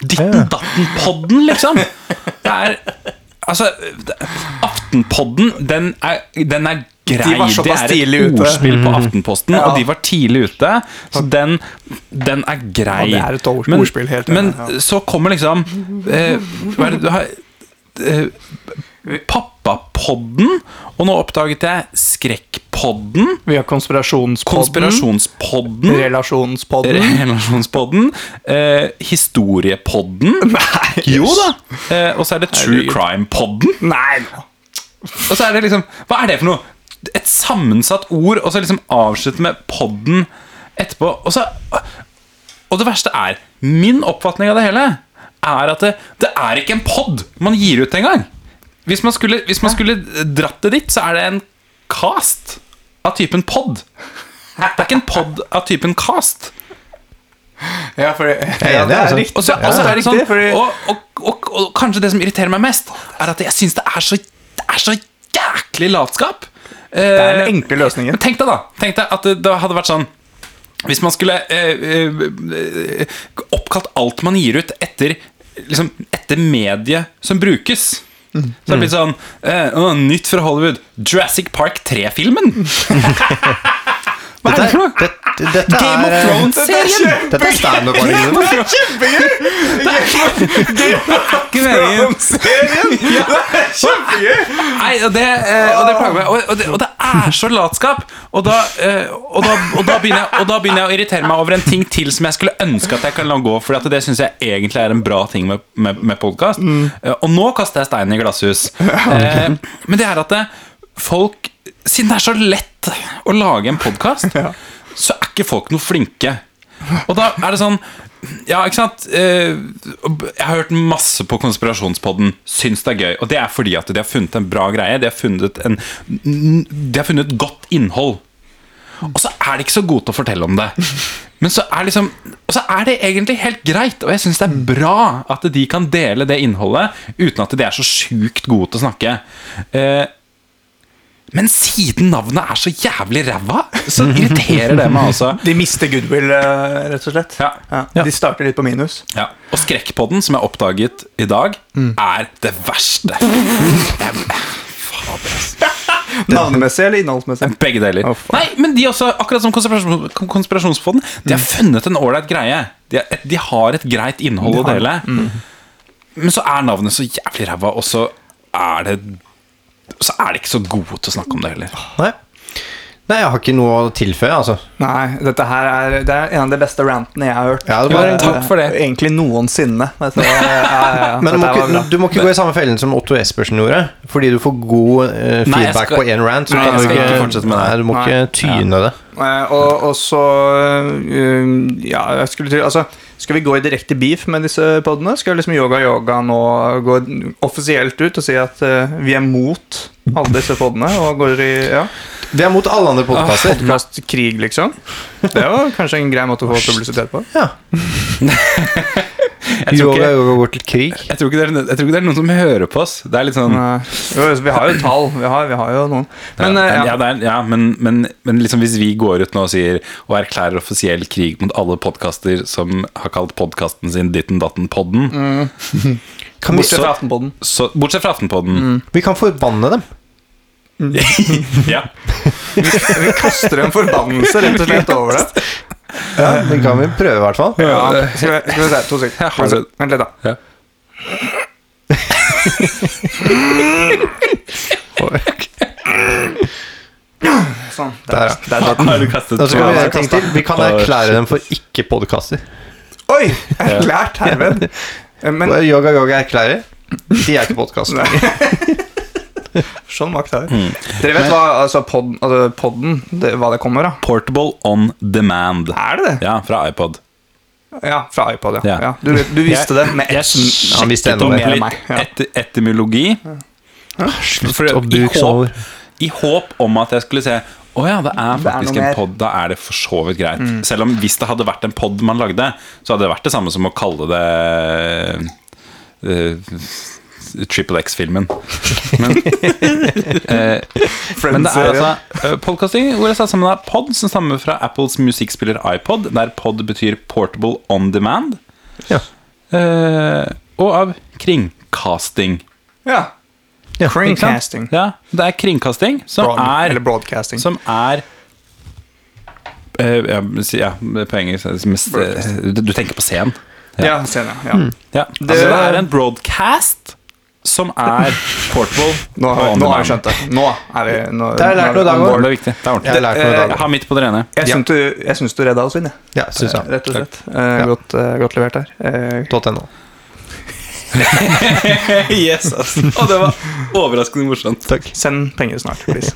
Speaker 3: Ditten datten podden, liksom. Det er Altså, det- Aftenpodden, den er, den er grei.
Speaker 2: De var såpass
Speaker 3: det er
Speaker 2: tidlig
Speaker 3: et
Speaker 2: ute.
Speaker 3: ordspill på Aftenposten,
Speaker 2: Ja.
Speaker 3: og de var tidlig ute. Så den, den er grei.
Speaker 2: Ja, det er et ord-
Speaker 3: Men-
Speaker 2: ordspill, helt enig,
Speaker 3: Men
Speaker 2: ja.
Speaker 3: så kommer liksom eh, Hva er det du har eh, Pappapodden, og nå oppdaget jeg Skrekkpodden.
Speaker 2: Vi har konspirasjonspodden.
Speaker 3: Konspirasjonspodden.
Speaker 2: Relasjonspodden.
Speaker 3: Relasjonspodden. Eh, historiepodden.
Speaker 2: Nei,
Speaker 3: Jo da! Eh, og så er det True Crime-podden.
Speaker 2: Nei, nå.
Speaker 3: Og så er det liksom Hva er det for noe? Et sammensatt ord, og så liksom avslutte med podden etterpå. Og så Og det verste er Min oppfatning av det hele er at det, det er ikke en pod man gir ut engang. Hvis man skulle, hvis man skulle dratt det dit, så er det en cast av typen pod. Det er ikke en pod av typen cast.
Speaker 2: Ja, for jeg
Speaker 1: er enig, altså.
Speaker 3: Og, så, og, så er det sånn,
Speaker 2: riktig, fordi-
Speaker 3: og, og, og, og kanskje det som irriterer meg mest, er at jeg syns det, er så- det er så jæklig latskap. Eh,
Speaker 2: det er den enkle løsningen.
Speaker 3: Men tenk deg da Tenk deg at det, det hadde vært sånn Hvis man skulle eh, eh, eh, Oppkalt alt man gir ut Etter, liksom, etter mediet Som brukes Så det blir sånn eh, å, Nytt fra Hollywood Jurassic Park 3-filmen Hva er det for noe?
Speaker 1: det, dette er
Speaker 3: Game of
Speaker 1: eh,
Speaker 3: Thrones-serien
Speaker 1: Dette er standup-varianten.
Speaker 2: Det er kjempegøy!
Speaker 3: Ikke meningen.
Speaker 2: Serien! Det er kjempegøy!
Speaker 3: Nei, og det, eh, og det plager meg. Og, og, det, og det er så latskap! Og da, eh, og, da, og, da begynner jeg, og da begynner jeg å irritere meg over en ting til som jeg skulle ønske at jeg kan la gå, for det syns jeg egentlig er en bra ting med, med, med podkast.
Speaker 2: Mm.
Speaker 3: og nå kaster jeg steinen i glasshus. Eh, men det er at det, folk Siden det er så lett å lage en podkast, så er ikke folk noe flinke. Og da er det sånn Ja, ikke sant? Eh, Jeg har hørt masse på Konspirasjonspodden. Syns det er gøy. Og det er fordi at de har funnet en bra greie. De har funnet, en, de har funnet godt innhold. Og så er de ikke så gode til å fortelle om det. Men så er, liksom, og så er det egentlig helt greit, og jeg syns det er bra at de kan dele det innholdet uten at de er så sjukt gode til å snakke. Eh, men siden navnet er så jævlig ræva, så irriterer det meg altså.
Speaker 2: De mister goodwill, eh, rett og slett.
Speaker 3: Ja.
Speaker 2: De starter litt på minus.
Speaker 3: Ja. Og Skrekkpodden, som jeg oppdaget i dag, er det verste.
Speaker 2: Navnemessig eller innholdsmessig?
Speaker 3: Begge deler.
Speaker 2: Å, faen.
Speaker 3: Nei, men de også, akkurat som konspirasjon, Konspirasjonspodden, de har funnet en ålreit greie. De, har et, de har Mm. et greit innhold å
Speaker 2: De har-
Speaker 3: dele. Men så er navnet så jævlig ræva, og så er det så er de ikke så gode til å snakke om det heller.
Speaker 1: Nei. Nei, jeg har ikke noe å tilføye, altså.
Speaker 2: Nei, dette her er, det er en av de beste rantene jeg har hørt.
Speaker 1: Ja, det var-
Speaker 2: Eh,
Speaker 3: takk for det.
Speaker 2: Egentlig noensinne. Dette, var- ja, ja, ja.
Speaker 1: Men du må,
Speaker 2: dette her var
Speaker 1: ikke,
Speaker 2: bra.
Speaker 1: du må ikke gå i samme fellen som Otto Espersen gjorde. Fordi du får god eh,
Speaker 3: Nei, jeg
Speaker 1: feedback
Speaker 3: skal-
Speaker 1: på én rant. Så
Speaker 3: Nei,
Speaker 1: kan
Speaker 3: jeg
Speaker 1: du
Speaker 3: skal ikke
Speaker 1: ikke,
Speaker 3: fortsette med det.
Speaker 1: nei, du må
Speaker 2: Nei.
Speaker 1: ikke tyne det.
Speaker 2: Eh, og, og så eh, Ja, jeg skulle til Altså, skal vi gå i direkte beef med disse podene? Skal liksom Yoga Yoga nå gå offisielt ut og si at eh, vi er mot alle disse podene? Og går i ja,
Speaker 1: Vi er mot alle andre podkaster.
Speaker 2: podkastkrig, liksom? Det var kanskje en grei måte å få publisitet på.
Speaker 1: Ah, Ja.
Speaker 3: Jeg tror,
Speaker 1: Yoga
Speaker 3: ikke,
Speaker 1: yoga går til krig.
Speaker 3: jeg, tror ikke det er, jeg tror ikke det er noen som hører på oss. Det er litt sånn
Speaker 2: Nei. eh, Jo, vi har jo tall. Vi har, vi har jo noen. Men eh,
Speaker 3: ja,
Speaker 2: ja.
Speaker 3: ja, det er, ja, men, men, men liksom hvis vi går ut nå og sier og erklærer offisiell krig mot alle podkaster som har kalt podkasten sin Ditten Datten Podden,
Speaker 1: Kan vi,
Speaker 2: Bortsett fra Aftenpoden.
Speaker 3: så, bortsett fra Aftenpodden
Speaker 2: Mm.
Speaker 1: vi kan forbanne dem.
Speaker 3: ja.
Speaker 2: Vi kaster en forbannelse rett og slett over det.
Speaker 1: Ja, det kan vi prøve, i hvert fall.
Speaker 2: Ja, skal, vi, skal vi se, to
Speaker 3: Jeg har
Speaker 2: sekunder.
Speaker 3: det.
Speaker 2: Vent litt, da.
Speaker 3: Ja.
Speaker 2: Sånn.
Speaker 1: Der, ja.
Speaker 2: Der satt den.
Speaker 3: Har du kastet
Speaker 1: Da skal vi
Speaker 3: ja,
Speaker 1: en ting til. Vi kan erklære dem for ikke-podkaster.
Speaker 2: Oi! Erklært herved. Eh, Men
Speaker 1: Yoga yoga erklærer. De er ikke podkaster.
Speaker 2: sånn var ikke det. Dere vet hva altså, podden, altså, podden det, hva det kommer av?
Speaker 3: Portable on demand.
Speaker 2: Er det det?
Speaker 3: Ja, fra iPod.
Speaker 2: Ja, fra iPod, ja.
Speaker 3: Ja.
Speaker 2: ja. Du, du visste det med ett
Speaker 1: Ja, han visste
Speaker 3: sjekket
Speaker 1: enda
Speaker 3: opp
Speaker 2: mer enn
Speaker 3: litt
Speaker 2: meg, ja.
Speaker 3: et, etymologi. Ah, For-
Speaker 1: å
Speaker 3: i
Speaker 1: bruke
Speaker 3: håp-
Speaker 1: sånne ord.
Speaker 3: I håp om at jeg skulle se å ja, det er Mm.
Speaker 2: Det er
Speaker 3: faktisk
Speaker 2: noe mer.
Speaker 3: en pod. Da er det for så vidt greit. Selv om hvis det hadde vært en pod man lagde, så hadde det vært det samme som å kalle det eh, Triple X-filmen. Men men det er
Speaker 2: Friends-serien.
Speaker 3: altså eh, podcasting, hvor jeg satt sammen av pod, som stammer fra Apples musikkspiller iPod, der pod betyr Portable On Demand,
Speaker 1: Ja.
Speaker 3: eh, og av kringkasting.
Speaker 2: Ja.
Speaker 1: Ja,
Speaker 3: Ikke sant?
Speaker 2: Kringcasting.
Speaker 3: Ja, det er kringkasting som
Speaker 2: Broad, eller
Speaker 3: er
Speaker 2: broadcasting.
Speaker 3: Som er eh, ja, men si- ja, på engelsk eh, mest, eh, Du tenker på scenen.
Speaker 2: ja, ser jeg. Ja.
Speaker 3: Ja. Altså, det er en broadcast som er portable.
Speaker 2: Nå, har-
Speaker 3: og on
Speaker 2: nå har jeg
Speaker 3: demand.
Speaker 2: skjønt det. Nå er vi nå,
Speaker 1: Det har jeg lært
Speaker 2: nå er vi
Speaker 1: noe i dag
Speaker 2: on
Speaker 1: også.
Speaker 2: board.
Speaker 3: Det er viktig. Det
Speaker 1: Jeg
Speaker 3: er
Speaker 1: har
Speaker 3: ordentlig.
Speaker 1: lært noe i dag.
Speaker 3: Jeg har mitt på det rene.
Speaker 2: Jeg syns du, jeg syns du redda oss inn, jeg.
Speaker 1: Ja, syns jeg.
Speaker 2: Rett og slett. Eh,
Speaker 1: Ja.
Speaker 2: godt, eh, godt levert der. Eh,
Speaker 1: .no.
Speaker 3: yes, ass. Og det var overraskende morsomt.
Speaker 1: Takk.
Speaker 2: send penger snart, please.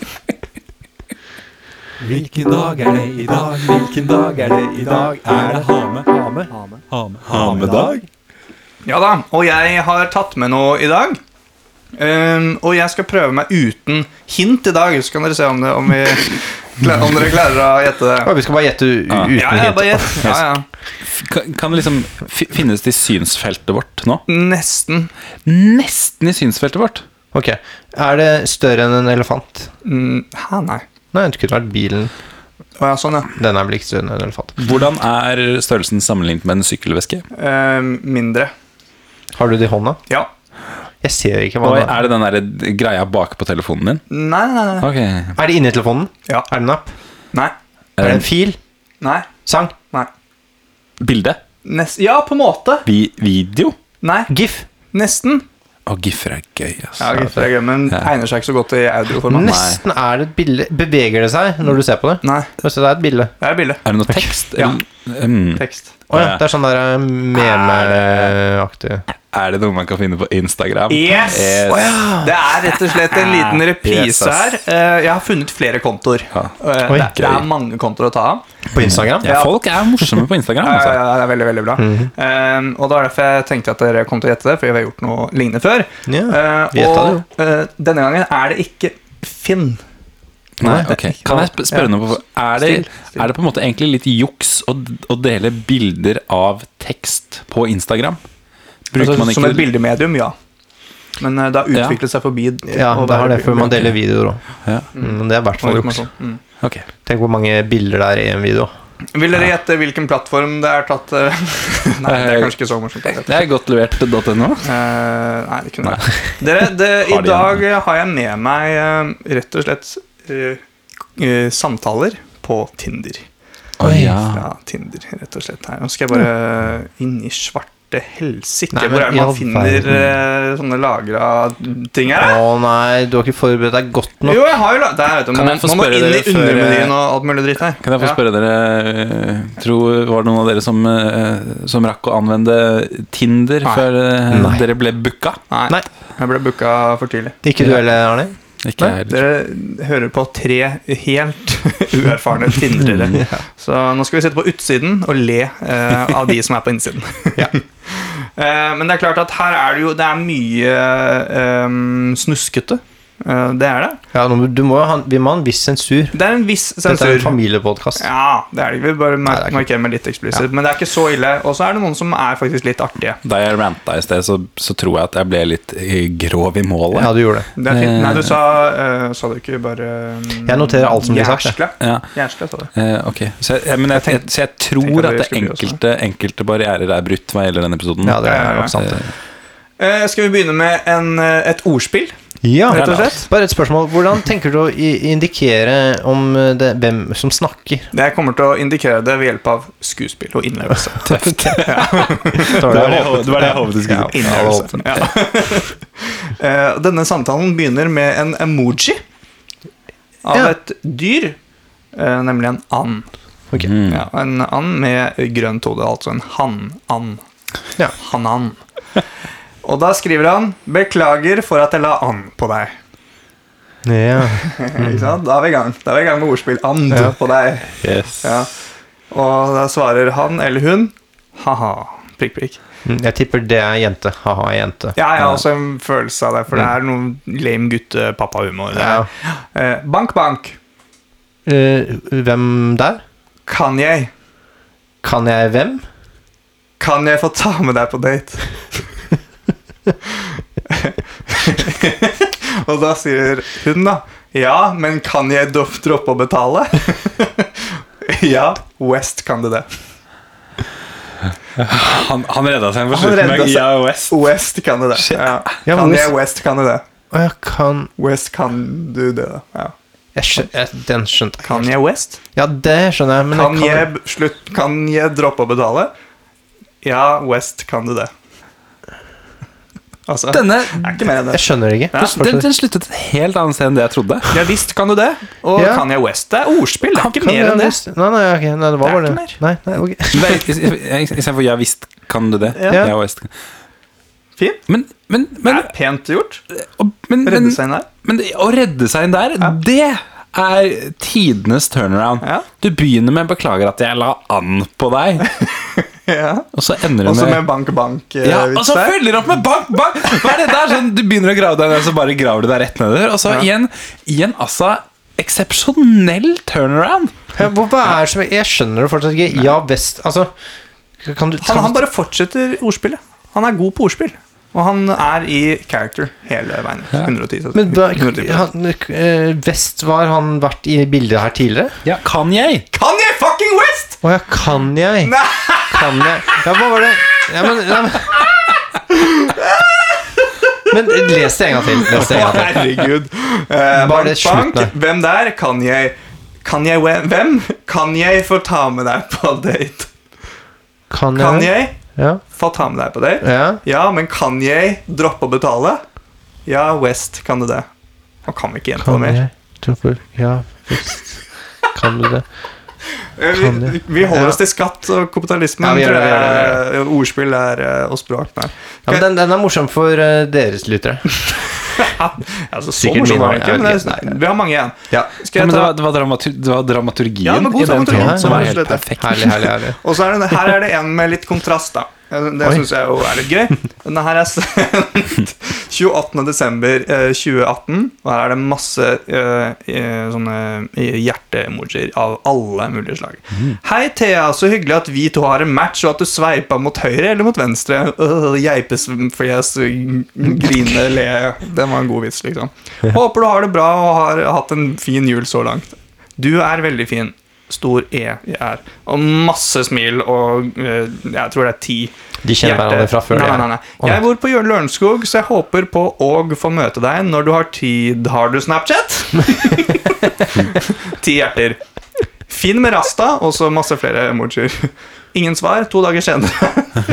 Speaker 4: Hvilken dag er det i dag? Hvilken dag er det i dag? Er det hame? Hame? Hame?
Speaker 3: Hamedag?
Speaker 2: Ja da, og jeg har tatt med noe i dag. Ehm, og jeg skal prøve meg uten hint i dag, så kan dere se om, det, om, vi, om dere klarer å gjette det.
Speaker 1: Ja, vi skal bare gjette u-
Speaker 3: Ja.
Speaker 1: uten
Speaker 2: Ja, ja, bare
Speaker 1: hint.
Speaker 2: gjett. Ja, ja.
Speaker 3: Kan, kan liksom fi- finnes det i synsfeltet vårt nå?
Speaker 2: Nesten.
Speaker 3: Nesten i synsfeltet vårt.
Speaker 1: Ok. Er det større enn en elefant?
Speaker 2: Mm, Hæ, nei.
Speaker 1: Nei, det kunne vært bilen.
Speaker 2: Å ja, sånn, ja.
Speaker 1: Den er vel ikke større enn en elefant.
Speaker 3: Hvordan er størrelsen sammenlignet med en sykkelveske?
Speaker 2: Ehm, mindre.
Speaker 1: Har du det i hånda?
Speaker 2: Ja.
Speaker 1: Jeg ser ikke hva
Speaker 3: Og
Speaker 1: den er.
Speaker 3: er det den der greia bak på telefonen din?
Speaker 2: Nei, nei, nei.
Speaker 3: Ok.
Speaker 1: Er det inni telefonen?
Speaker 2: Ja.
Speaker 1: Er det en app?
Speaker 2: Nei.
Speaker 1: Er det
Speaker 3: Eh,
Speaker 1: en fil?
Speaker 2: Nei.
Speaker 1: Sang?
Speaker 2: nei.
Speaker 3: bilde?
Speaker 2: Nes ja, på en måte.
Speaker 3: Vi video?
Speaker 2: Nei.
Speaker 1: GIF?
Speaker 2: Nesten.
Speaker 3: Og giffer er gøy, ass.
Speaker 2: Ja, gutter, det er gøy, men egner seg ikke så godt i audioformat.
Speaker 1: Nesten er det et bilde. Beveger det seg når du ser på det?
Speaker 2: Nei.
Speaker 1: Så det er et bilde.
Speaker 2: Det er bilde.
Speaker 3: Er det noe tekst?
Speaker 2: Ja.
Speaker 3: eller- Mm.
Speaker 2: Tekst.
Speaker 1: Å ja. Det er sånn der eh, memeaktig
Speaker 3: Er det noe man kan finne på Instagram?
Speaker 2: Yes!
Speaker 3: Yes.
Speaker 2: Det er rett og slett en liten
Speaker 3: Yes,
Speaker 2: reprise her.
Speaker 3: ass.
Speaker 2: Eh, Jeg har funnet flere kontoer.
Speaker 3: Ja.
Speaker 2: Eh,
Speaker 1: Oi,
Speaker 2: Det, det
Speaker 3: gøy.
Speaker 2: er mange kontoer å ta av.
Speaker 1: På Instagram?
Speaker 3: Ja, folk er morsomme på Instagram.
Speaker 2: Ja, ja,
Speaker 3: Altså.
Speaker 2: ja, det er veldig, veldig bra.
Speaker 1: Mhm.
Speaker 2: Eh, og det var derfor jeg tenkte at dere kom til å gjette det, fordi vi har gjort noe lignende før.
Speaker 1: Ja,
Speaker 2: Eh,
Speaker 1: vi gjetta
Speaker 2: og eh, denne gangen er det ikke Finn.
Speaker 3: Nei, ok. Kan jeg sp- spørre
Speaker 2: Ja.
Speaker 3: noe? på- Er det,
Speaker 2: Still, still.
Speaker 3: er det på en måte egentlig litt juks å, å dele bilder av tekst på Instagram? Bruker
Speaker 2: Altså,
Speaker 3: man
Speaker 2: Som et
Speaker 3: ikke
Speaker 2: bildemedium, ja. Men eh, det har
Speaker 3: Ja.
Speaker 2: utviklet seg forbi
Speaker 1: ja det er det, for man deler videoer òg.
Speaker 3: Ja.
Speaker 1: Men det er i hvert fall juks.
Speaker 2: Mm.
Speaker 3: Ok.
Speaker 1: Tenk hvor mange bilder det er i en video.
Speaker 2: Vil dere gjette hvilken plattform det er tatt eh, Nei, det er kanskje ikke så morsomt. å gjette.
Speaker 3: Det er godt levert .no.
Speaker 2: Eh, nei, det kunne jeg. Dere, det, I
Speaker 3: Har de
Speaker 2: dag har jeg med meg eh, rett og slett eh, eh, samtaler på Tinder.
Speaker 3: Oi, ja.
Speaker 2: Fra Tinder, rett og slett. Her. Nå skal jeg bare inn i svarte helsike.
Speaker 1: Nei, men
Speaker 2: Hvor er det
Speaker 1: i all
Speaker 2: man finner eh, sånne lagra ting
Speaker 1: Å
Speaker 2: her?
Speaker 1: nei, du har ikke forberedt deg godt nok.
Speaker 2: Ah! Jo, jeg har jo la- Der, vet du,
Speaker 3: Kan
Speaker 2: man,
Speaker 3: jeg få
Speaker 2: man må
Speaker 3: spørre
Speaker 2: inn i
Speaker 3: dere før,
Speaker 2: undermenyen
Speaker 3: eh,
Speaker 2: og alt mulig dritt her.
Speaker 3: Kan jeg få
Speaker 2: Ja.
Speaker 3: spørre dere eh, tro, Var det noen av dere som, eh, som rakk å anvende Tinder
Speaker 2: Nei.
Speaker 3: før eh,
Speaker 1: Nei.
Speaker 3: dere ble booka?
Speaker 2: Nei,
Speaker 1: Nei.
Speaker 2: jeg ble booka for tidlig.
Speaker 1: Ikke du heller, Arne?
Speaker 3: Ikke jeg heller.
Speaker 2: Dere hører på tre helt uerfarne tindrere.
Speaker 1: Mm,
Speaker 2: Så nå skal vi sitte på utsiden og le eh, av de som er på innsiden. Eh, men det er klart at her er det jo Det er mye eh, snuskete. Eh, det er det.
Speaker 1: Ja, nå må- du må jo ha, vi må ha en viss sensur.
Speaker 2: Det er en viss
Speaker 1: Dette er en
Speaker 2: sensur.
Speaker 1: familiepodkast.
Speaker 2: Ja, det er det ikke. Vi bare
Speaker 1: det er
Speaker 2: mar-
Speaker 1: ikke-
Speaker 2: markerer med litt eksplisitt. Men det er ikke så ille. Og så er det noen som er faktisk litt artige.
Speaker 3: Da jeg ranta i sted, så, så tror jeg at jeg ble litt eh, grov i målet.
Speaker 1: Ja, du gjorde det.
Speaker 2: Det er fint.
Speaker 3: Eh.
Speaker 2: Nei, du sa eh, Sa du ikke bare mm,
Speaker 1: Jeg noterer alt som blir sagt, jeg.
Speaker 2: Jæskle.
Speaker 3: Ja.
Speaker 2: Jæskle, sa du.
Speaker 3: Eh, ok, så jeg, men jeg,
Speaker 2: Jeg
Speaker 3: jeg,
Speaker 2: tenk-
Speaker 3: så jeg
Speaker 2: tenkte
Speaker 3: tror
Speaker 2: at
Speaker 3: at
Speaker 2: det
Speaker 3: det
Speaker 2: skulle bli også.
Speaker 3: enkelte, enkelte barrierer er brutt hva gjelder denne episoden.
Speaker 1: Ja, det
Speaker 2: Ja, ja,
Speaker 1: er
Speaker 2: ja.
Speaker 1: nok sant. det.
Speaker 2: Eh, skal vi begynne med en, eh, et ordspill?
Speaker 1: Ja,
Speaker 2: Rett og slett.
Speaker 1: Bare et spørsmål. Hvordan tenker du å i- indikere om eh, det, hvem som snakker?
Speaker 2: Det jeg kommer til å indikere det ved hjelp av skuespill og innlevelse.
Speaker 3: Tøft.
Speaker 1: Det
Speaker 3: det var det jeg håpet du
Speaker 2: Ja, innlevelse. Ja. Eh, Denne samtalen begynner med en emoji av
Speaker 1: Ja.
Speaker 2: et dyr, eh, nemlig en and.
Speaker 1: Ok.
Speaker 3: Mm.
Speaker 2: Ja, en and med grønt hode, altså en hann-and.
Speaker 1: Ja.
Speaker 2: Hanan. Og da skriver han 'Beklager for at jeg la and på deg'.
Speaker 1: Ja.
Speaker 2: Ikke sant? Da er vi i gang Da er vi i gang med ordspill 'and'
Speaker 1: Mm. Ja.
Speaker 2: på deg.
Speaker 3: Yes.
Speaker 2: Ja. Og da svarer han eller hun ha-ha. Prikk, prikk.
Speaker 1: Mm, Jeg tipper det er jente. Ha-ha, jente.
Speaker 2: Ja, jeg har også en følelse av det, for det er noe lame gutte-pappa-humor. det
Speaker 1: Mm. Ja.
Speaker 2: her. Eh, Bank, bank.
Speaker 1: Eh, hvem der?
Speaker 2: Kan jeg?
Speaker 1: Kan jeg hvem?
Speaker 2: Kan jeg få ta med deg på date? og da sier hun, da. Ja, men kan jeg do- droppe å betale? ja, West kan du det.
Speaker 3: Han, han redda seg for
Speaker 2: Han
Speaker 3: slutten
Speaker 2: redda
Speaker 3: med
Speaker 2: seg.
Speaker 3: IOS.
Speaker 2: West kan du det. Ja.
Speaker 1: Ja,
Speaker 2: Kan
Speaker 1: men
Speaker 2: jeg
Speaker 1: West-
Speaker 2: West kan du det.
Speaker 1: Å ja, kan
Speaker 2: West kan du det. da. Ja.
Speaker 1: jeg skjøn, jeg, Den skjønte jeg.
Speaker 2: Kan jeg West?
Speaker 1: Ja, det skjønner jeg. Men
Speaker 2: Kan
Speaker 1: jeg
Speaker 2: jeg,
Speaker 1: kan,
Speaker 2: b- slutt, kan jeg droppe å betale? Ja, West, kan du det? Altså, det
Speaker 3: Denne
Speaker 2: er ikke mer enn det.
Speaker 1: jeg skjønner det ikke.
Speaker 3: den, den sluttet et helt annet sted enn det jeg trodde.
Speaker 2: Ja visst kan du det, og
Speaker 1: Ja.
Speaker 2: kan jeg West? Det er ordspill, det er ikke
Speaker 1: Kan
Speaker 2: mer
Speaker 1: jeg
Speaker 2: enn det.
Speaker 1: visst- Nei, nei, ok, nei, det var
Speaker 2: Det er
Speaker 1: bare
Speaker 2: ikke
Speaker 1: det. Nei, nei, ok.
Speaker 3: Istedenfor 'ja visst kan du det'.
Speaker 2: Ja.
Speaker 3: Ja, visst.
Speaker 2: Fint.
Speaker 3: Men, men,
Speaker 2: Det
Speaker 3: men,
Speaker 2: er pent gjort.
Speaker 3: og- men, men,
Speaker 2: Redde seg inn der.
Speaker 3: men det- å redde seg inn der, det er tidenes turnaround.
Speaker 2: Ja.
Speaker 3: Du begynner med 'beklager at jeg la an på deg',
Speaker 2: Ja.
Speaker 3: og så ender du
Speaker 2: Også
Speaker 3: med
Speaker 2: med eh, bank-bank-vits
Speaker 3: Ja, og så følger du opp med bank, bank! Hva er det der? Sånn, du begynner å grave deg ned, så bare graver du deg rett nedover. Og så igjen, igjen altså Eksepsjonell turnaround!
Speaker 1: Ja, hvor- Hva er det som Jeg skjønner det fortsatt ikke. Ja, vest Altså kan du,
Speaker 2: Han,
Speaker 1: kan-
Speaker 2: han bare fortsetter ordspillet. Han er god på ordspill. Og han er i character hele veien. 110
Speaker 1: Men da,
Speaker 2: 110%.
Speaker 1: han, eh, Vest var han vært i bildet her tidligere?
Speaker 3: Ja, kan jeg?
Speaker 2: Kan jeg fucking West?!
Speaker 1: Å ja, kan jeg?
Speaker 2: Nei.
Speaker 1: Kan jeg? Ja, hva var det? Ja, men, ja, men. men les det en gang til. Les det en gang
Speaker 2: Å,
Speaker 1: til.
Speaker 2: herregud. Eh,
Speaker 1: Bare
Speaker 2: bank,
Speaker 1: det slutten
Speaker 2: bank.
Speaker 1: her.
Speaker 2: Hvem der? Kan jeg Kan jeg we- Hvem? Kan jeg få ta med deg på date?
Speaker 1: Kan jeg?
Speaker 2: Kan jeg
Speaker 1: Ja.
Speaker 2: få ta med deg på date?
Speaker 1: ja.
Speaker 2: Ja, men kan jeg droppe å betale? Ja, West, kan du det? Nå kan vi ikke gjenta det
Speaker 1: Kan
Speaker 2: mer.
Speaker 1: jeg? Tror på- Ja, vest. Kan du det?
Speaker 2: Eh,
Speaker 1: Kan
Speaker 2: Vi,
Speaker 1: de?
Speaker 2: vi holder oss til skatt og kapitalisme.
Speaker 1: Ja, vi gjør det, vi gjør
Speaker 2: Ordspill er, eh, og språk. Nei.
Speaker 1: Ja, men den, den er morsom for eh, deres lyttere.
Speaker 2: Altså, så
Speaker 1: Sikkert
Speaker 2: morsom
Speaker 1: min
Speaker 2: var
Speaker 1: også,
Speaker 2: den ikke,
Speaker 1: jeg vet
Speaker 2: men det, sånn-
Speaker 1: ikke. Nei.
Speaker 2: vi har mange igjen.
Speaker 1: Ja.
Speaker 2: Skal
Speaker 3: Ja,
Speaker 2: jeg
Speaker 3: men det var,
Speaker 2: ta,
Speaker 3: det var, dramatur det var dramaturgien
Speaker 2: Ja, det var god
Speaker 3: i den
Speaker 2: dramaturgi,
Speaker 3: tråden som
Speaker 2: ja,
Speaker 3: var
Speaker 2: absolutt.
Speaker 3: helt perfekt.
Speaker 1: Herlig, herlig, herlig.
Speaker 2: og så er det, her er det en med litt kontrast, da. Eh, Det
Speaker 1: Oi.
Speaker 2: syns jeg jo er litt gøy. Denne her er sendt 28.12.2018, og her eh, er det masse eh, eh, sånne hjerte-emojier av alle mulige slag. Hei, Thea. Så hyggelig at vi to har en match, og at du sveipa mot høyre eller mot venstre. Øh, Geipesfjes, grine, le. Den var en god vits, liksom. Håper du har det bra og har hatt en fin jul så langt. Du er veldig fin. Stor E i R. Og masse smil, og eh, jeg tror det er ti.
Speaker 1: De kjenner
Speaker 2: Hjerte.
Speaker 1: hverandre fra før.
Speaker 2: Nei,
Speaker 1: ja.
Speaker 2: nei, nei.
Speaker 1: Å,
Speaker 2: Jeg bor på Jørn Lørenskog, så jeg håper på og få møte deg når du har tid. Har du Snapchat? Ti hjerter. Fin med rasta, og så masse flere emojier. Ingen svar, to dager senere.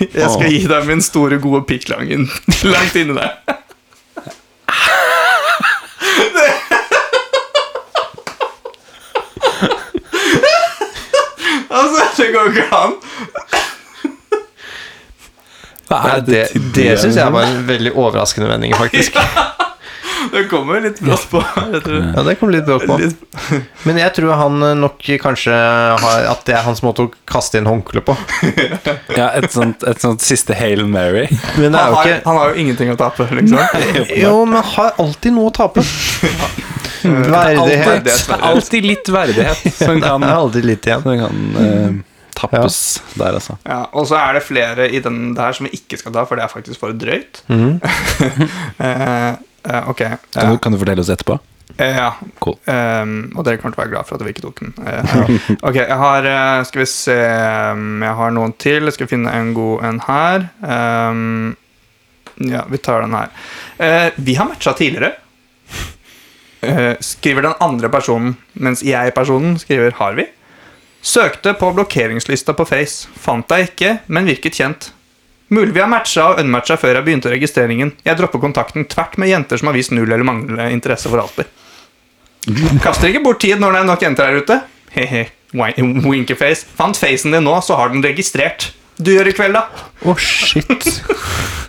Speaker 2: Jeg skal gi deg min store, gode pikklangen langt inni deg. Altså, det går ikke an.
Speaker 3: Hva
Speaker 1: Nei,
Speaker 3: er
Speaker 1: det
Speaker 3: til
Speaker 1: det syns jeg var en veldig overraskende vending, faktisk.
Speaker 2: Det kommer litt brått på. Jeg tror.
Speaker 1: Ja, det kom litt brått på.
Speaker 2: Litt,
Speaker 1: Men jeg tror han eh, nok kanskje har At det er hans måte å kaste inn håndkle på.
Speaker 3: Ja, et sånt, et sånt siste Hail Mary.
Speaker 1: Men det er
Speaker 2: han,
Speaker 1: jo
Speaker 2: har,
Speaker 1: ikke
Speaker 2: han har jo ingenting å tape, liksom.
Speaker 1: Jo, men har alltid noe å tape.
Speaker 2: Alltid.
Speaker 1: Verdighet.
Speaker 2: Det
Speaker 3: Det
Speaker 2: er
Speaker 3: er alltid litt verdighet som
Speaker 1: Det
Speaker 3: kan,
Speaker 1: er aldri litt igjen.
Speaker 3: som kan eh, tappes der, altså.
Speaker 2: Ja, og så er det flere i den der som vi ikke skal ta, for det er faktisk for drøyt.
Speaker 1: Mm.
Speaker 2: Eh, eh, ok. eh,
Speaker 3: Kan du, kan du fortelle oss etterpå?
Speaker 2: eh, ja.
Speaker 3: Cool.
Speaker 2: Ehm, og dere kommer til å være glad for at vi ikke tok den. Eh, ok, jeg har eh, Skal vi se ehm, Jeg har noen til. Jeg skal finne en god en her. Ehm, ja, vi tar den her. Eh, vi har matcha tidligere. Eh, skriver den andre personen, mens jeg-personen skriver 'har vi'. Søkte på blokkeringslista på Face. Fant deg ikke, men virket kjent. Mulig vi har matcha og unmatcha før jeg begynte registreringen. Jeg dropper kontakten tvert med jenter som har vist null eller manglende interesse for Alper. Kaster ikke bort tid når det er nok jenter der ute. Hehe. Wi- Winkerface. Fant facen din nå, så har den registrert. Du gjør i kveld, da.
Speaker 1: Å, shit.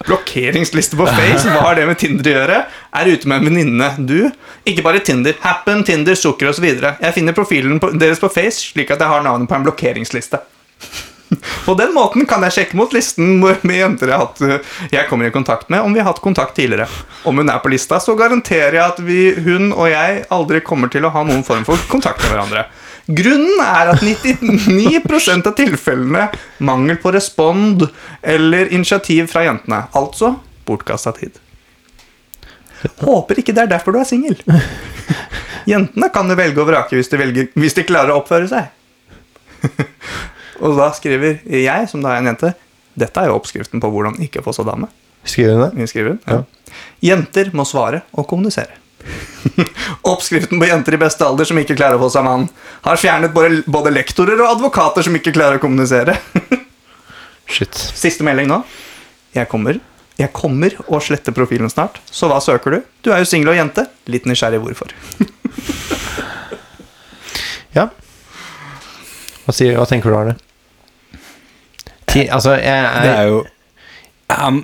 Speaker 2: Blokkeringsliste på Face. Hva har det med Tinder å gjøre? Er ute med en venninne. Du? Ikke bare Tinder. Happen, Tinder, sukker osv. Jeg finner profilen på, deres på Face, slik at jeg har navnet på en blokkeringsliste. På den måten kan jeg sjekke mot listen hvor- med jenter jeg, har hatt, øh, jeg kommer i kontakt med, om vi har hatt kontakt tidligere. Om hun er på lista, så garanterer jeg at vi, hun og jeg aldri kommer til å ha noen form for kontakt med hverandre. Grunnen er at 99 av tilfellene mangel på respond eller initiativ fra jentene. Altså bortkasta tid. Håper ikke det er derfor du er singel. Jentene kan jo velge og vrake hvis de, velger, hvis de klarer å oppføre seg. Og da skriver jeg, som da er en jente Dette er jo oppskriften på hvordan ikke få så dame.
Speaker 1: Skriver hun det?
Speaker 2: Vi skriver, ja. Jenter må svare og kommunisere. Oppskriften på jenter i beste alder som ikke klarer å få seg mann. Har fjernet både, både lektorer og advokater som ikke klarer å kommunisere.
Speaker 1: Shit.
Speaker 2: Siste melding nå. Jeg kommer. Jeg kommer og sletter profilen snart. Så hva søker du? Du er jo singel og jente. Litt nysgjerrig hvorfor.
Speaker 1: Ja. Hva, sier, hva tenker du, Arne? Ti, altså, jeg er,
Speaker 3: Det er jo han,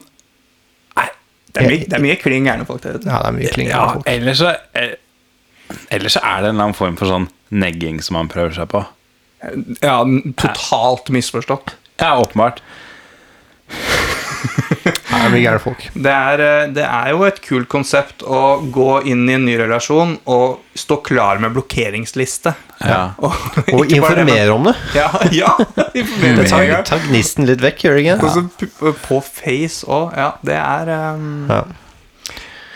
Speaker 2: Det er mye, det er mye kling gærne folk der ute.
Speaker 1: Ja, det er mye klingende
Speaker 3: Ja,
Speaker 1: folk.
Speaker 3: ellers så eh, Ellers så er det en eller annen form for sånn negging som han prøver seg på.
Speaker 2: Ja, totalt misforstått.
Speaker 3: Ja, åpenbart.
Speaker 1: Det er mye gærne folk.
Speaker 2: Det er, eh, det er jo et kult konsept å gå inn i en ny relasjon og stå klar med blokkeringsliste.
Speaker 3: Ja.
Speaker 2: Og,
Speaker 1: Og
Speaker 2: ikke bare det, men-
Speaker 1: informere om det.
Speaker 2: Ja, ja informere
Speaker 1: Det tar,
Speaker 2: med en gang.
Speaker 1: tar gnisten litt vekk, gjør det
Speaker 2: Og
Speaker 1: ikke?
Speaker 2: så p- på face òg. Ja, det er eh,
Speaker 1: Ja.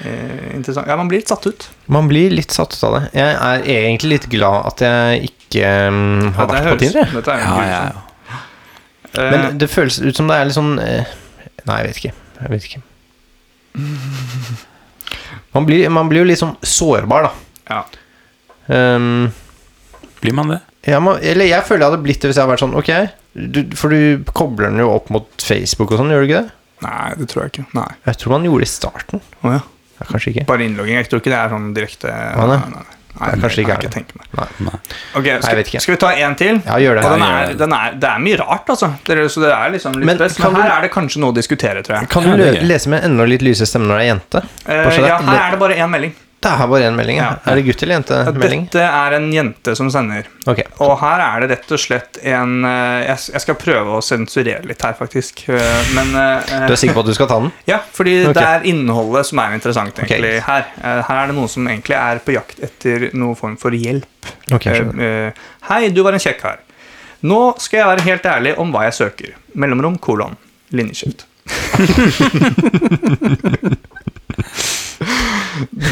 Speaker 2: eh, interessant. Ja, man blir litt satt ut.
Speaker 1: Man blir litt satt ut av det. Jeg er egentlig litt glad at jeg ikke mm, har vært
Speaker 2: Dette
Speaker 1: på
Speaker 2: høres-
Speaker 1: Tinder. jeg.
Speaker 2: Dette er jo
Speaker 3: Ja,
Speaker 2: kult,
Speaker 3: ja,
Speaker 2: sånn.
Speaker 3: ja.
Speaker 2: Eh,
Speaker 1: Men det føles ut som det er litt sånn eh, Nei, jeg vet ikke. Jeg vet ikke. Man blir, man blir jo litt sånn sårbar, da.
Speaker 2: ja.
Speaker 1: Um,
Speaker 3: Blir man det?
Speaker 1: Ja, man, eller jeg føler jeg hadde blitt det hvis jeg hadde vært sånn Ok, du, for du kobler den jo opp mot Facebook og sånn, gjør du ikke det?
Speaker 2: Nei, det tror jeg ikke. Nei.
Speaker 1: Jeg tror man gjorde det i starten.
Speaker 2: Å ja.
Speaker 1: Ja, kanskje ikke.
Speaker 2: Bare innlogging. Jeg tror ikke det er sånn direkte
Speaker 1: nei.
Speaker 2: nei, nei.
Speaker 1: Det er kanskje ikke
Speaker 2: jeg
Speaker 1: er
Speaker 2: kan
Speaker 1: det.
Speaker 2: tenke meg.
Speaker 1: Nei.
Speaker 2: Ok, skal,
Speaker 1: vet ikke.
Speaker 2: skal vi ta en til?
Speaker 1: Ja, gjør det.
Speaker 2: Og den
Speaker 3: Ja, gjør
Speaker 2: er,
Speaker 3: det.
Speaker 2: den er, det er mye rart, altså. Det er, så det er liksom litt
Speaker 1: Men
Speaker 2: best.
Speaker 1: kan
Speaker 2: Men her
Speaker 1: du-
Speaker 2: er det kanskje noe å diskutere, tror jeg.
Speaker 1: Kan du
Speaker 3: Ja, det
Speaker 1: lø-
Speaker 3: er gøy.
Speaker 1: lese med enda litt lysere stemme når det er jente?
Speaker 2: Eh,
Speaker 1: Bare så det-
Speaker 2: ja, her er det bare én melding.
Speaker 1: Det er bare én melding. Ja.
Speaker 2: Ja.
Speaker 1: Er det gutt eller jente-melding?
Speaker 2: Dette er en jente som sender.
Speaker 1: Ok.
Speaker 2: Og her er det rett og slett en eh, Jeg, jeg skal prøve å sensurere litt her, faktisk. Eh, Men eh,
Speaker 1: Du er sikker på at du skal ta den?
Speaker 2: Ja, fordi
Speaker 1: Ok.
Speaker 2: det er innholdet som er interessant egentlig her. Eh, Her er det noen som egentlig er på jakt etter noen form for hjelp.
Speaker 1: Ok, jeg skjønner.
Speaker 2: Eh, eh, Hei, du var en kjekk kar. Nå skal jeg være helt ærlig om hva jeg søker. Mellomrom, kolon, linjeskift.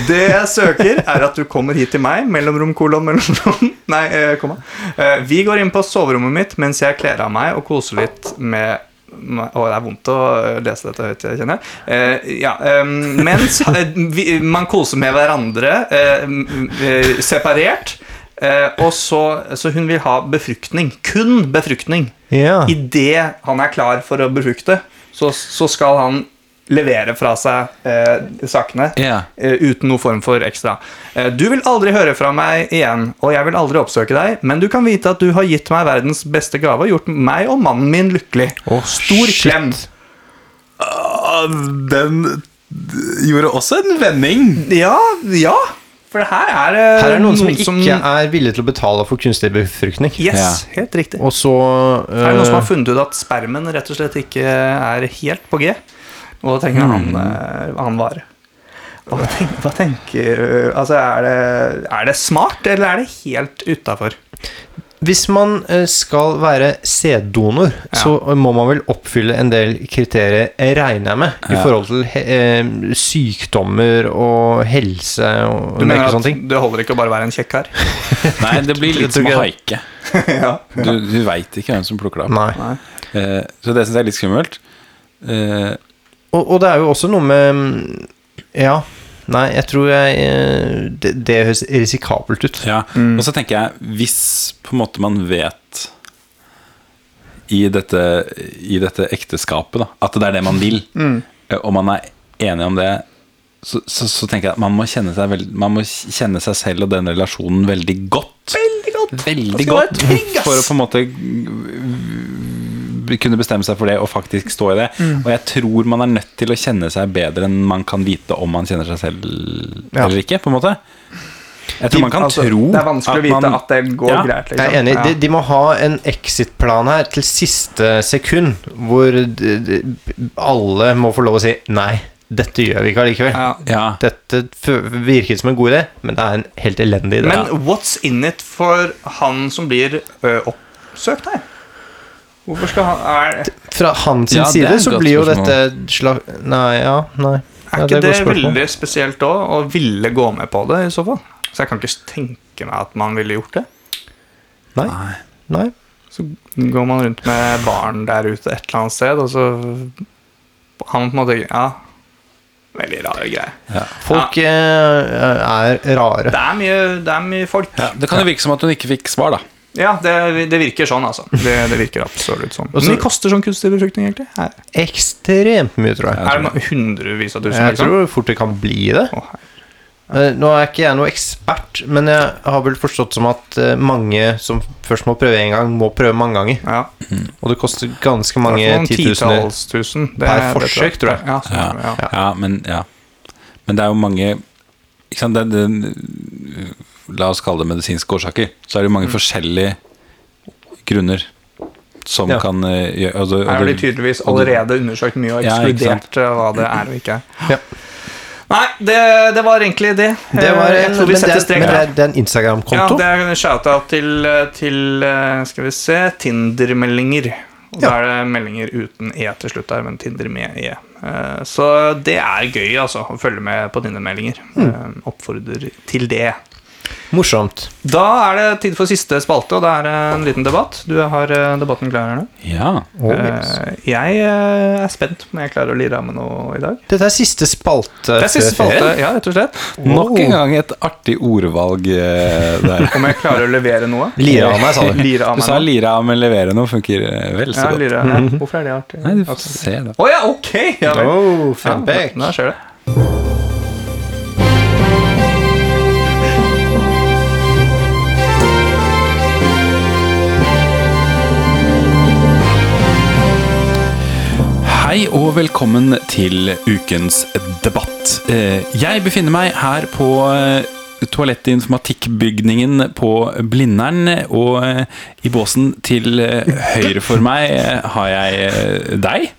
Speaker 2: Det jeg søker, er at du kommer hit til meg. Mellomrom, kolon, mellomrom. Nei, eh, komma. Eh, Vi går inn på soverommet mitt mens jeg kler av meg og koser litt med med- å, det er vondt å eh, lese dette høyt, jeg kjenner jeg. Eh, ja, eh, mens eh, vi, man koser med hverandre eh, m- eh, separert. Eh, og så, så hun vil ha befruktning. Kun befruktning.
Speaker 1: Ja.
Speaker 2: Idet han er klar for å befrukte, så, så skal han levere fra seg eh, sakene
Speaker 3: Ja.
Speaker 2: eh, uten noe form for ekstra. Eh, du vil aldri høre fra meg igjen, og jeg vil aldri oppsøke deg, men du kan vite at du har gitt meg verdens beste gave og gjort meg og mannen min lykkelig.
Speaker 1: Å,
Speaker 2: Stor
Speaker 1: shit.
Speaker 2: klem.
Speaker 3: Den gjorde også en vending.
Speaker 2: Ja, ja. For her er eh, det
Speaker 1: Her er det noen som ikke er villige til å betale for kunstig befruktning.
Speaker 2: Yes, helt riktig.
Speaker 1: Og så
Speaker 2: Her er det noen som har
Speaker 1: øh,
Speaker 2: funnet ut at spermen rett og slett ikke er helt på G. Og da tenker han eh, hva han var. Hva tenker, hva tenker Altså, er det, er det smart, eller er det helt utafor?
Speaker 1: Hvis man øh, skal være sæddonor, så må man vel oppfylle en del kriterier, jeg regner jeg med, i
Speaker 3: Ja.
Speaker 1: forhold til he eh, sykdommer og helse og
Speaker 2: Du
Speaker 1: en
Speaker 2: mener
Speaker 1: rekke
Speaker 2: at
Speaker 1: sånne ting.
Speaker 2: det holder ikke å bare være en kjekk kar?
Speaker 3: Nei, det blir litt som å haike.
Speaker 2: ja.
Speaker 3: Du, du veit ikke hvem som plukker deg opp.
Speaker 1: Nei.
Speaker 2: Nei.
Speaker 3: Eh, så det syns jeg er litt skummelt. Eh,
Speaker 1: Og, og det er jo også noe med mm, Ja. Nei, jeg tror jeg eh, Det, det høres risikabelt ut.
Speaker 3: ja. Og så tenker jeg, hvis på en måte man vet i dette, i dette ekteskapet da, at det er det man vil, eh, og man er enig om det, så, så, så tenker jeg at man må, kjenne seg veld, man må kjenne seg selv og den relasjonen veldig godt.
Speaker 2: Veldig godt.
Speaker 3: Veldig
Speaker 2: skal
Speaker 3: godt
Speaker 2: være trygg, ass.
Speaker 3: for å på en måte mm, kunne bestemme seg for det og faktisk stå i det.
Speaker 2: Mm.
Speaker 3: Og jeg tror man er nødt til å kjenne seg bedre enn man kan vite om man kjenner seg selv
Speaker 1: Ja.
Speaker 3: eller ikke. på en måte Jeg tror man kan
Speaker 2: Altså,
Speaker 3: tro
Speaker 2: Det er vanskelig å vite
Speaker 3: man-
Speaker 2: at det går
Speaker 3: Ja.
Speaker 2: greit. liksom.
Speaker 1: Jeg er enig. De, de må ha en exit-plan her til siste sekund, hvor d- d- alle må få lov å si nei, dette gjør vi ikke allikevel.
Speaker 2: Ja.
Speaker 3: Ja.
Speaker 1: Dette fø- virket som en god idé, men det er en helt elendig idé.
Speaker 2: Men what's in it for han som blir ø, oppsøkt her? Hvorfor skal han Er,
Speaker 1: Fra hans sin
Speaker 3: Ja, det er
Speaker 1: side
Speaker 3: et
Speaker 1: så
Speaker 3: godt
Speaker 1: blir jo
Speaker 3: spørsmål.
Speaker 1: dette slag... Nei, ja, nei.
Speaker 2: er
Speaker 1: Ja,
Speaker 2: ikke
Speaker 1: er et
Speaker 2: det,
Speaker 1: godt spørsmål.
Speaker 2: veldig spesielt òg, å ville gå med på det i så fall? Så jeg kan ikke tenke meg at man ville gjort det.
Speaker 1: Nei.
Speaker 3: Nei.
Speaker 1: nei.
Speaker 2: Så går man rundt med barn der ute et eller annet sted, og så Han på en måte Ja. Veldig rare greier.
Speaker 1: Folk eh, er rare.
Speaker 2: Det er mye, det er mye folk.
Speaker 3: Ja, det kan jo virke som at hun ikke fikk svar, da.
Speaker 2: Ja, det, det virker sånn, altså. Det, det virker absolutt sånn.
Speaker 1: Og så-
Speaker 2: Men det koster sånn kunstig befruktning, egentlig? Er,
Speaker 1: Ekstremt mye, tror jeg.
Speaker 2: er det noe hundrevis av tusen? liksom.
Speaker 1: Jeg tror fort det kan bli det.
Speaker 2: Å, hei.
Speaker 1: Eh, Nå er ikke jeg noe ekspert, men jeg har vel forstått som at eh, mange som først må prøve én gang, må prøve mange ganger.
Speaker 2: ja.
Speaker 1: Og det koster ganske
Speaker 2: Det
Speaker 1: mange
Speaker 2: er noen
Speaker 1: titusener.
Speaker 2: titalls tusen. Det-
Speaker 1: per
Speaker 2: det
Speaker 1: forsøk, tror jeg.
Speaker 2: Ja, sånn, ja.
Speaker 3: Ja. men, ja. men det er jo mange ikke sant, det, det, La oss kalle det medisinske årsaker. Så er det jo
Speaker 2: Mm.
Speaker 3: mange forskjellige grunner som
Speaker 1: Ja.
Speaker 3: kan eh, gjøre og det- og
Speaker 2: Her har de
Speaker 3: det-
Speaker 2: tydeligvis
Speaker 3: og det-
Speaker 2: allerede undersøkt mye og
Speaker 3: Ja, ikke sant.
Speaker 2: ekskludert eh, hva det er og ikke er.
Speaker 1: Ja.
Speaker 2: Nei, det, det var egentlig det.
Speaker 1: Det var
Speaker 2: Eh,
Speaker 1: en,
Speaker 2: jeg
Speaker 1: men
Speaker 2: tror vi
Speaker 1: det,
Speaker 2: setter
Speaker 1: er,
Speaker 2: strek
Speaker 1: men det
Speaker 2: der.
Speaker 1: er, det er en Instagram-konto.
Speaker 2: Ja, det er en shout-out til, til eh, skal vi se, Tinder-meldinger. Og da er det meldinger uten E til slutt der, men Tinder med E. Eh, Så det er gøy, altså, å følge med på Tinder-meldinger.
Speaker 1: Mm.
Speaker 2: Eh, Oppfordrer til det.
Speaker 1: Morsomt.
Speaker 2: Da er det tid for siste spalte, og det er eh, en liten debatt. Du har eh, debatten klar her nå.
Speaker 3: Ja.
Speaker 1: Oh, yes.
Speaker 2: Eh, Jeg eh, er spent på om jeg klarer å lire av med noe i dag.
Speaker 1: Dette er siste spalte
Speaker 2: Det er siste
Speaker 1: før ferien.
Speaker 2: spalte, ja, rett og slett.
Speaker 3: Nok en gang et artig ordvalg eh, der.
Speaker 2: Om jeg klarer å levere noe.
Speaker 1: Lire av meg, sa du.
Speaker 2: Lire av
Speaker 3: Du
Speaker 2: meg
Speaker 3: sa
Speaker 2: nå.
Speaker 3: lira, men levere noe funker eh, vel så
Speaker 2: Ja,
Speaker 3: godt.
Speaker 2: lire. Ja. Hvorfor er det artig?
Speaker 3: Nei, du
Speaker 2: At-
Speaker 3: får se, da.
Speaker 2: Å ja, ok! Ja, vel.
Speaker 1: Oh,
Speaker 2: Ja,
Speaker 1: Fembeck.
Speaker 2: da- da skjer det.
Speaker 3: Hei og velkommen til ukens debatt. Eh, Jeg befinner meg her på eh, toalettinformatikkbygningen på Blindern, og eh, i båsen til eh, høyre for meg eh, har jeg eh, deg.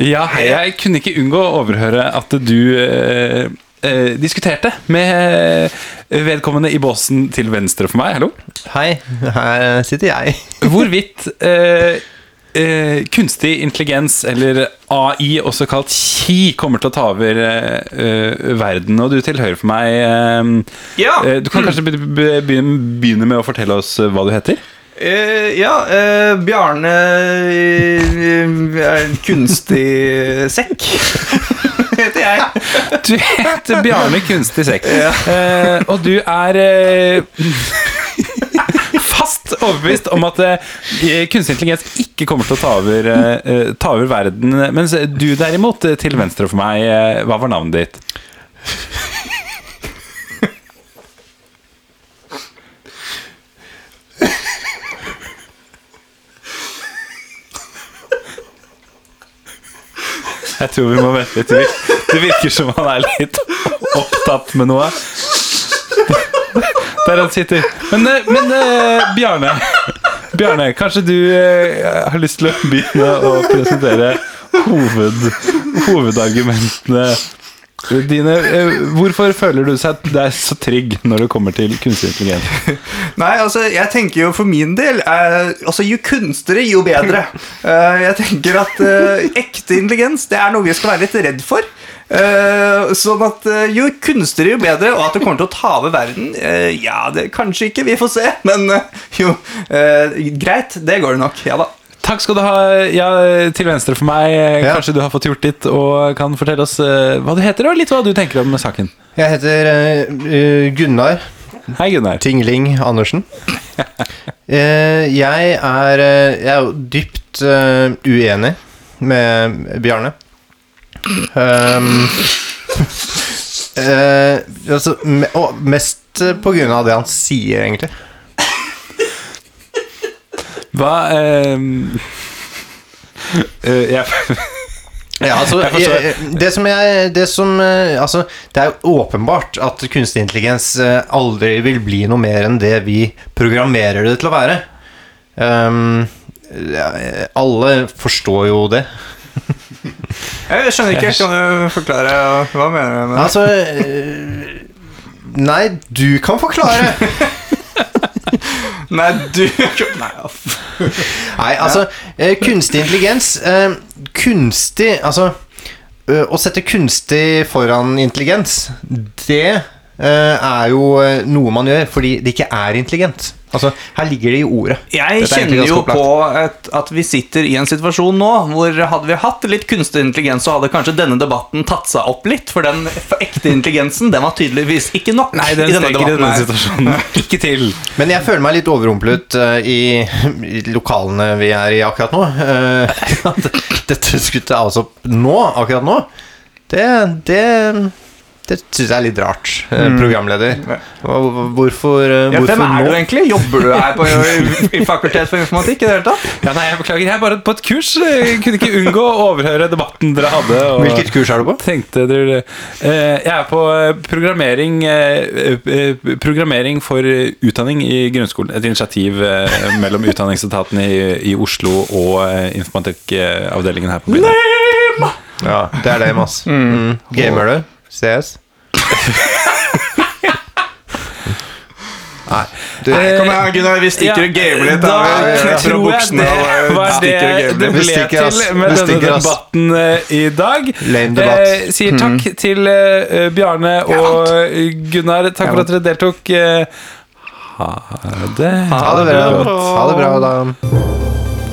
Speaker 3: Ja, hei, jeg kunne ikke unngå å overhøre at du eh, eh, diskuterte med eh, vedkommende i båsen til venstre for meg. Hallo?
Speaker 1: Hei, her sitter jeg.
Speaker 3: Hvorvidt eh, eh, kunstig intelligens, eller AI, også kalt KI, kommer til å ta over eh, eh, verden. Og du til høyre for meg eh,
Speaker 2: Ja.
Speaker 3: eh, Du kan kanskje be- be- begynne begynne med å fortelle oss eh, hva du heter?
Speaker 2: Eh, ja, eh, Bjarne eh, er en kunstig sekk, heter jeg.
Speaker 3: Du heter Bjarne Kunstig Sekk, eh, og du er eh, fast overbevist om at eh, kunstig intelligens ikke kommer til å ta over, eh, eh, ta over verden. Mens du derimot, eh, til venstre for meg, eh, hva var navnet ditt? Jeg tror vi må vente litt. Det virker, det virker som han er litt opptatt med noe. Der han sitter. Men, eh, men eh, Bjarne, Bjarne, kanskje du eh, har lyst til å begynne å presentere hoved, hovedargumentene dine. Eh, Hvorfor føler du seg deg så trygg når det kommer til kunstig intelligens?
Speaker 2: Nei, altså, jeg tenker jo for min del eh, Altså, jo kunstnere, jo bedre. Eh, jeg tenker at eh, ekte intelligens, det er noe vi skal være litt redd for. Eh, sånn at eh, jo kunstigere, jo bedre, og at det kommer til å ta over verden eh, Ja, det kanskje ikke, vi får se, men eh, jo eh, Greit, det går det nok. Ja da.
Speaker 3: Takk skal du ha. Ja, til venstre for meg, eh,
Speaker 1: Ja.
Speaker 3: kanskje du har fått gjort ditt og kan fortelle oss eh, hva du heter og litt hva du tenker om saken.
Speaker 1: Jeg heter eh, Gunnar
Speaker 3: Hei, Gunnar.
Speaker 1: Tingling Andersen. Eh, jeg er eh, Jeg er jo dypt eh, uenig med Bjarne. Um, eh, altså, me, og mest eh, på grunn av det han sier, egentlig.
Speaker 3: Hva ehm, eh, jeg,
Speaker 1: Ja, altså,
Speaker 3: Jeg forstår.
Speaker 1: eh, det som jeg det, som, eh, altså, det er jo åpenbart at kunstig intelligens eh, aldri vil bli noe mer enn det vi programmerer det til å være. Um, ja, eh, alle forstår jo det.
Speaker 2: Jeg skjønner ikke. Kan du forklare hva mener du med det?
Speaker 1: Altså eh, Nei, du kan forklare.
Speaker 2: Nei, du Nei, aff.
Speaker 1: Nei, altså eh, Kunstig intelligens eh, Kunstig Altså ø, å sette kunstig foran intelligens, det eh, er jo eh, noe man gjør fordi det ikke er intelligent. Altså, her ligger det i ordet.
Speaker 2: Jeg
Speaker 1: Dette er egentlig
Speaker 2: kjenner jo
Speaker 1: ganske
Speaker 2: på et, at vi sitter i en situasjon nå hvor hadde vi hatt litt kunstig intelligens, så hadde kanskje denne debatten tatt seg opp litt. For den ekte intelligensen den var tydeligvis ikke nok.
Speaker 3: nei, den
Speaker 2: i denne
Speaker 3: streker i
Speaker 2: debatten
Speaker 3: denne
Speaker 2: her.
Speaker 3: situasjonen. Ikke til.
Speaker 1: Men jeg føler meg litt overrumplet eh, i, i lokalene vi er i akkurat nå. Eh, at dette skulle tas opp nå, akkurat nå, det, det, det syns jeg er litt rart, eh, programleder. Hva- Hvorfor, eh,
Speaker 2: Mm. Ja, hvem
Speaker 1: hvorfor
Speaker 2: er du
Speaker 1: nå?
Speaker 2: egentlig? Jobber du her på i, i Fakultet for informatikk i det hele tatt?
Speaker 3: Ja, nei, jeg beklager. Jeg er bare på et kurs. Jeg kunne ikke unngå å overhøre debatten dere hadde. Og
Speaker 1: Hvilket kurs er du på?
Speaker 3: Tenkte dere Eh, Jeg er på eh, programmering eh, eh, Programmering for eh, utdanning i grunnskolen. Et initiativ eh, mellom Utdanningsetaten i, i Oslo og eh, informatikkavdelingen her på byen.
Speaker 1: Ja, det er det, Mads. Mm. Gamer du? CS? Nei. Du,
Speaker 3: Eh,
Speaker 2: Kom igjen, Gunnar, vi stikker og gamer litt.
Speaker 3: Da
Speaker 2: vi knepper opp
Speaker 3: tror jeg
Speaker 2: buksene
Speaker 3: det
Speaker 2: og eh,
Speaker 3: var det
Speaker 2: stikker og gamer
Speaker 3: det
Speaker 2: litt.
Speaker 1: Vi
Speaker 3: ble
Speaker 1: stikker, ass.
Speaker 3: til med
Speaker 1: Vi
Speaker 3: denne
Speaker 1: stikker, ass.
Speaker 3: debatten eh, i dag.
Speaker 1: Lame debatt.
Speaker 3: Eh, sier takk til eh, Bjarne og Gunnar. Takk for at dere deltok. Eh, ha det.
Speaker 1: ha det bra. Ha det bra, da.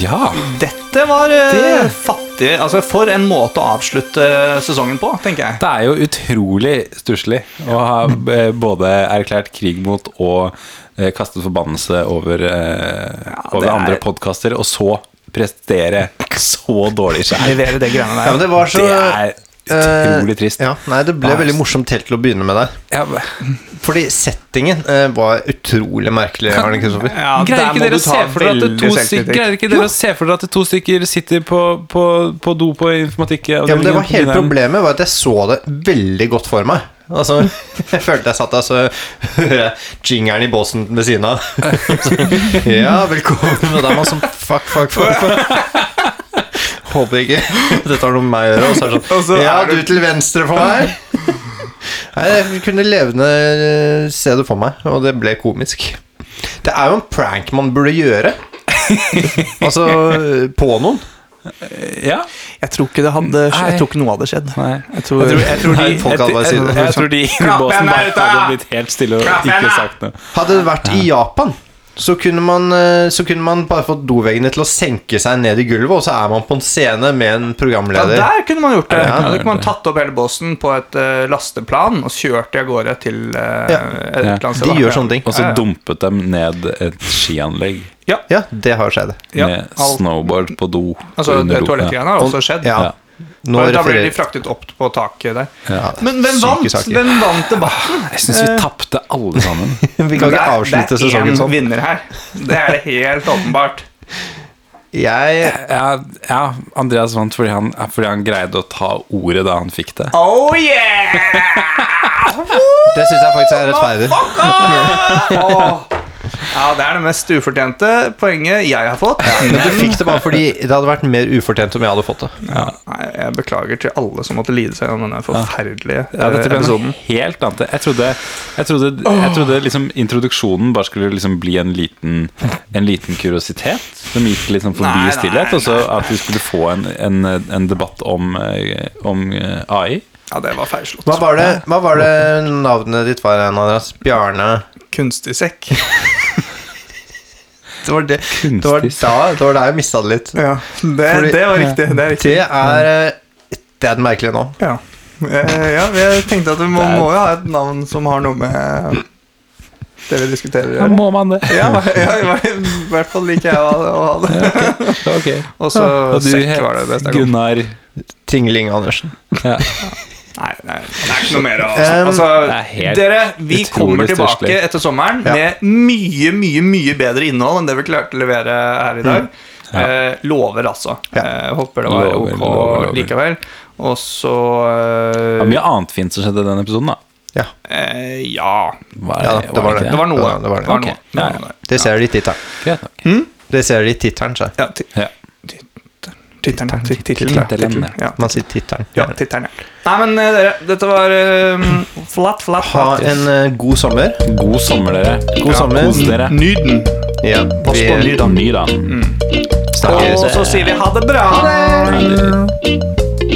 Speaker 3: Ja.
Speaker 2: Dette var eh,
Speaker 3: Det-
Speaker 2: fattig Altså, for en måte å avslutte sesongen på, tenker jeg.
Speaker 3: Det er jo utrolig stusslig å ha eh, både erklært krig mot og eh, kastet forbannelse over, eh,
Speaker 2: det
Speaker 3: over
Speaker 2: er-
Speaker 3: andre podkaster, og så prestere så dårlig sjæl.
Speaker 2: Levere det greiene der.
Speaker 1: Ja, men det var så
Speaker 3: Det er utrolig trist.
Speaker 1: Eh, Ja, nei, det ble
Speaker 3: Nei.
Speaker 1: veldig morsomt helt til å begynne med der.
Speaker 3: Ja, men-
Speaker 1: Fordi settingen eh, var utrolig merkelig. Arne Kristoffer.
Speaker 2: Ja, der
Speaker 3: greier ikke
Speaker 2: må
Speaker 3: dere
Speaker 2: du
Speaker 3: å se
Speaker 2: ta
Speaker 3: for dere at det
Speaker 2: veldig
Speaker 3: to
Speaker 2: selvkritikk.
Speaker 3: stykker Greier ikke dere å se for dere at det to stykker sitter på, på, på do på informatikkavdelingen?
Speaker 1: Ja, men det var
Speaker 3: på
Speaker 1: Hele
Speaker 3: Blindern?
Speaker 1: problemet var at jeg så det veldig godt for meg. Altså, Jeg følte jeg satt der, så hører jeg jingeren i båsen ved siden av. Så, Ja, velkommen. Og da er man sånn fuck, fuck, fuck. fuck. Håper ikke dette har noe med meg å gjøre. Og så er det
Speaker 2: Og så
Speaker 1: sånn
Speaker 2: er
Speaker 1: Ja,
Speaker 2: du-
Speaker 1: du til venstre for meg. Nei, jeg kunne levende eh, se det for meg, og det ble komisk. Det er jo en prank man burde gjøre. Altså på noen.
Speaker 3: Ja.
Speaker 2: Jeg tror ikke det hadde skjedd.
Speaker 3: Nei.
Speaker 2: Jeg tror ikke noe hadde skjedd.
Speaker 3: Nei, jeg tror,
Speaker 2: Jeg tror- jeg tror de-
Speaker 3: Nei, folk hadde bare
Speaker 1: jeg-
Speaker 3: sittet
Speaker 1: jeg-
Speaker 3: der. Jeg tror de i
Speaker 2: Klapp
Speaker 3: båsen
Speaker 2: henne
Speaker 3: bare
Speaker 2: ut, da!
Speaker 3: hadde blitt helt stille og
Speaker 2: Klapp
Speaker 3: ikke
Speaker 2: henne!
Speaker 3: sagt noe.
Speaker 1: Hadde det vært i Japan, så kunne man, eh, så kunne man bare fått doveggene til å senke seg ned i gulvet, og så er man på en scene med en
Speaker 2: Ja,
Speaker 1: programleder.
Speaker 2: der kunne man gjort det.
Speaker 1: Ja,
Speaker 2: Da
Speaker 3: det-
Speaker 2: kunne man tatt opp hele båsen på et eh, lasteplan og kjørt de av gårde til eh,
Speaker 1: Ja.
Speaker 2: et eller annet sted.
Speaker 1: De
Speaker 2: da.
Speaker 1: gjør sånne ting.
Speaker 3: Og så
Speaker 2: Ja, ja.
Speaker 3: dumpet dem ned et skianlegg
Speaker 1: Ja, det har skjedd.
Speaker 2: Ja,
Speaker 3: med
Speaker 2: alt.
Speaker 3: snowboard på do.
Speaker 2: Altså,
Speaker 3: under do.
Speaker 2: Toalettgreiene har også skjedd.
Speaker 1: Ja.
Speaker 3: Ja.
Speaker 1: Nå
Speaker 2: da ble de
Speaker 1: refererer
Speaker 2: fraktet opp på taket der.
Speaker 3: Ja.
Speaker 2: Men hvem
Speaker 1: Syke
Speaker 2: vant?
Speaker 1: saker.
Speaker 2: Hvem vant debatten?
Speaker 3: Jeg syns vi tapte alle sammen.
Speaker 1: Vi kan
Speaker 2: Det
Speaker 1: ikke
Speaker 2: er-
Speaker 1: avslutte
Speaker 2: Det
Speaker 1: sesongen
Speaker 2: er én
Speaker 1: sånn.
Speaker 2: vinner her. Det er det helt åpenbart.
Speaker 1: Jeg
Speaker 3: Ja, ja Andreas vant fordi han, fordi han greide å ta ordet da han fikk det.
Speaker 2: Oh yeah!
Speaker 1: Det syns jeg faktisk er rettferdig.
Speaker 2: Åh. Ja, det er det mest ufortjente poenget jeg har fått.
Speaker 1: Men du fikk det bare fordi det hadde vært mer ufortjent om jeg hadde fått det.
Speaker 2: Nei, jeg beklager til alle som måtte lide seg gjennom denne forferdelige
Speaker 3: Ja, dette
Speaker 2: eh,
Speaker 3: ble
Speaker 2: episoden.
Speaker 3: noe helt annet. Jeg trodde, jeg trodde, jeg trodde liksom introduksjonen bare skulle liksom bli en liten, en liten kuriositet som gikk liksom forbi
Speaker 2: Nei, nei,
Speaker 3: stillhet, og så at vi skulle få en, en, en debatt om, eh, om eh, AI.
Speaker 2: Ja, det var feilslått.
Speaker 1: Hva var det, hva var det navnet ditt var igjen, Andreas? Bjarne
Speaker 2: Kunstig sekk.
Speaker 1: Det var det Det var
Speaker 3: Kunstig.
Speaker 1: da, det var da jeg mista det litt.
Speaker 2: Ja, det,
Speaker 1: Fordi-
Speaker 2: det var riktig. Det er riktig.
Speaker 1: Det er eh, Det er et merkelig navn.
Speaker 2: Ja. Eh, ja, jeg tenkte at vi må,
Speaker 3: Det er-
Speaker 2: må jo ha et navn som har noe med eh, det vi diskuterer å
Speaker 3: Ja,
Speaker 2: gjøre.
Speaker 3: må man det?
Speaker 2: Ja, ja, i hver- i hvert fall liker jeg å, å ha det.
Speaker 3: Ok.
Speaker 2: Og så
Speaker 3: Og du
Speaker 2: sekk var det
Speaker 3: het
Speaker 2: beste jeg kom
Speaker 3: Gunnar
Speaker 1: Tingling Andersen.
Speaker 3: ja.
Speaker 2: Nei, nei, det er ikke noe mer å
Speaker 1: Um,
Speaker 2: altså,
Speaker 3: det er helt
Speaker 2: Dere, vi
Speaker 3: utrolig
Speaker 2: kommer tilbake
Speaker 3: stusslig.
Speaker 2: etter sommeren
Speaker 1: Ja.
Speaker 2: med mye, mye mye bedre innhold enn det vi klarte å levere her i dag.
Speaker 3: Mm. Ja.
Speaker 2: Eh, lover, altså.
Speaker 1: Ja.
Speaker 2: Eh, håper det var
Speaker 3: Lover,
Speaker 2: ok
Speaker 3: lover, lover.
Speaker 2: likevel. Og så
Speaker 3: Det
Speaker 2: eh,
Speaker 3: var mye annet fint som skjedde i den episoden, da.
Speaker 2: eh, Ja.
Speaker 3: Var,
Speaker 1: Ja, det var det.
Speaker 2: Det var noe.
Speaker 1: Ja, det var det.
Speaker 2: var
Speaker 3: Ok.
Speaker 2: noe.
Speaker 3: Ja,
Speaker 2: Det var
Speaker 3: ja.
Speaker 2: noe.
Speaker 1: Det ser de i tittelen.
Speaker 3: Greit nok.
Speaker 1: Det ser de i tittelen, sa jeg.
Speaker 2: Ja, ti-
Speaker 3: Ja.
Speaker 2: Tittelen, ti- tittelen, ja.
Speaker 3: Tittelen,
Speaker 2: Tittelen, ja.
Speaker 1: Man sier tittelen.
Speaker 2: Ja, tittelen, ja. Nei, men eh, dere, dette var eh, flatt, flatt,
Speaker 1: Ha
Speaker 2: flatt.
Speaker 1: en eh, god sommer.
Speaker 3: God sommer, dere.
Speaker 1: God sommer.
Speaker 3: Kos dere.
Speaker 2: Nyden.
Speaker 1: Ja,
Speaker 2: Pass på
Speaker 1: vi
Speaker 2: lyden.
Speaker 3: Ny, da.
Speaker 1: snakkes.
Speaker 2: Og så sier vi ha det bra.
Speaker 3: Ha det.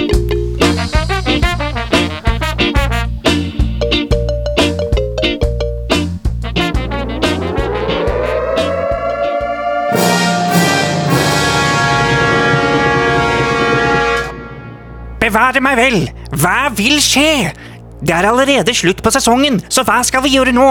Speaker 5: Bevare meg vel! Hva vil skje? Det er allerede slutt på sesongen, så hva skal vi gjøre nå?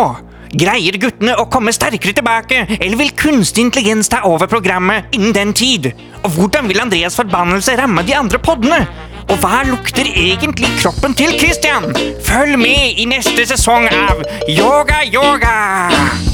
Speaker 5: Greier guttene å komme sterkere tilbake, eller vil kunstig intelligens ta over programmet innen den tid? Og hvordan vil Andreas' forbannelse ramme de andre poddene? Og hva lukter egentlig kroppen til Christian? Følg med i neste sesong av Yoga Yoga!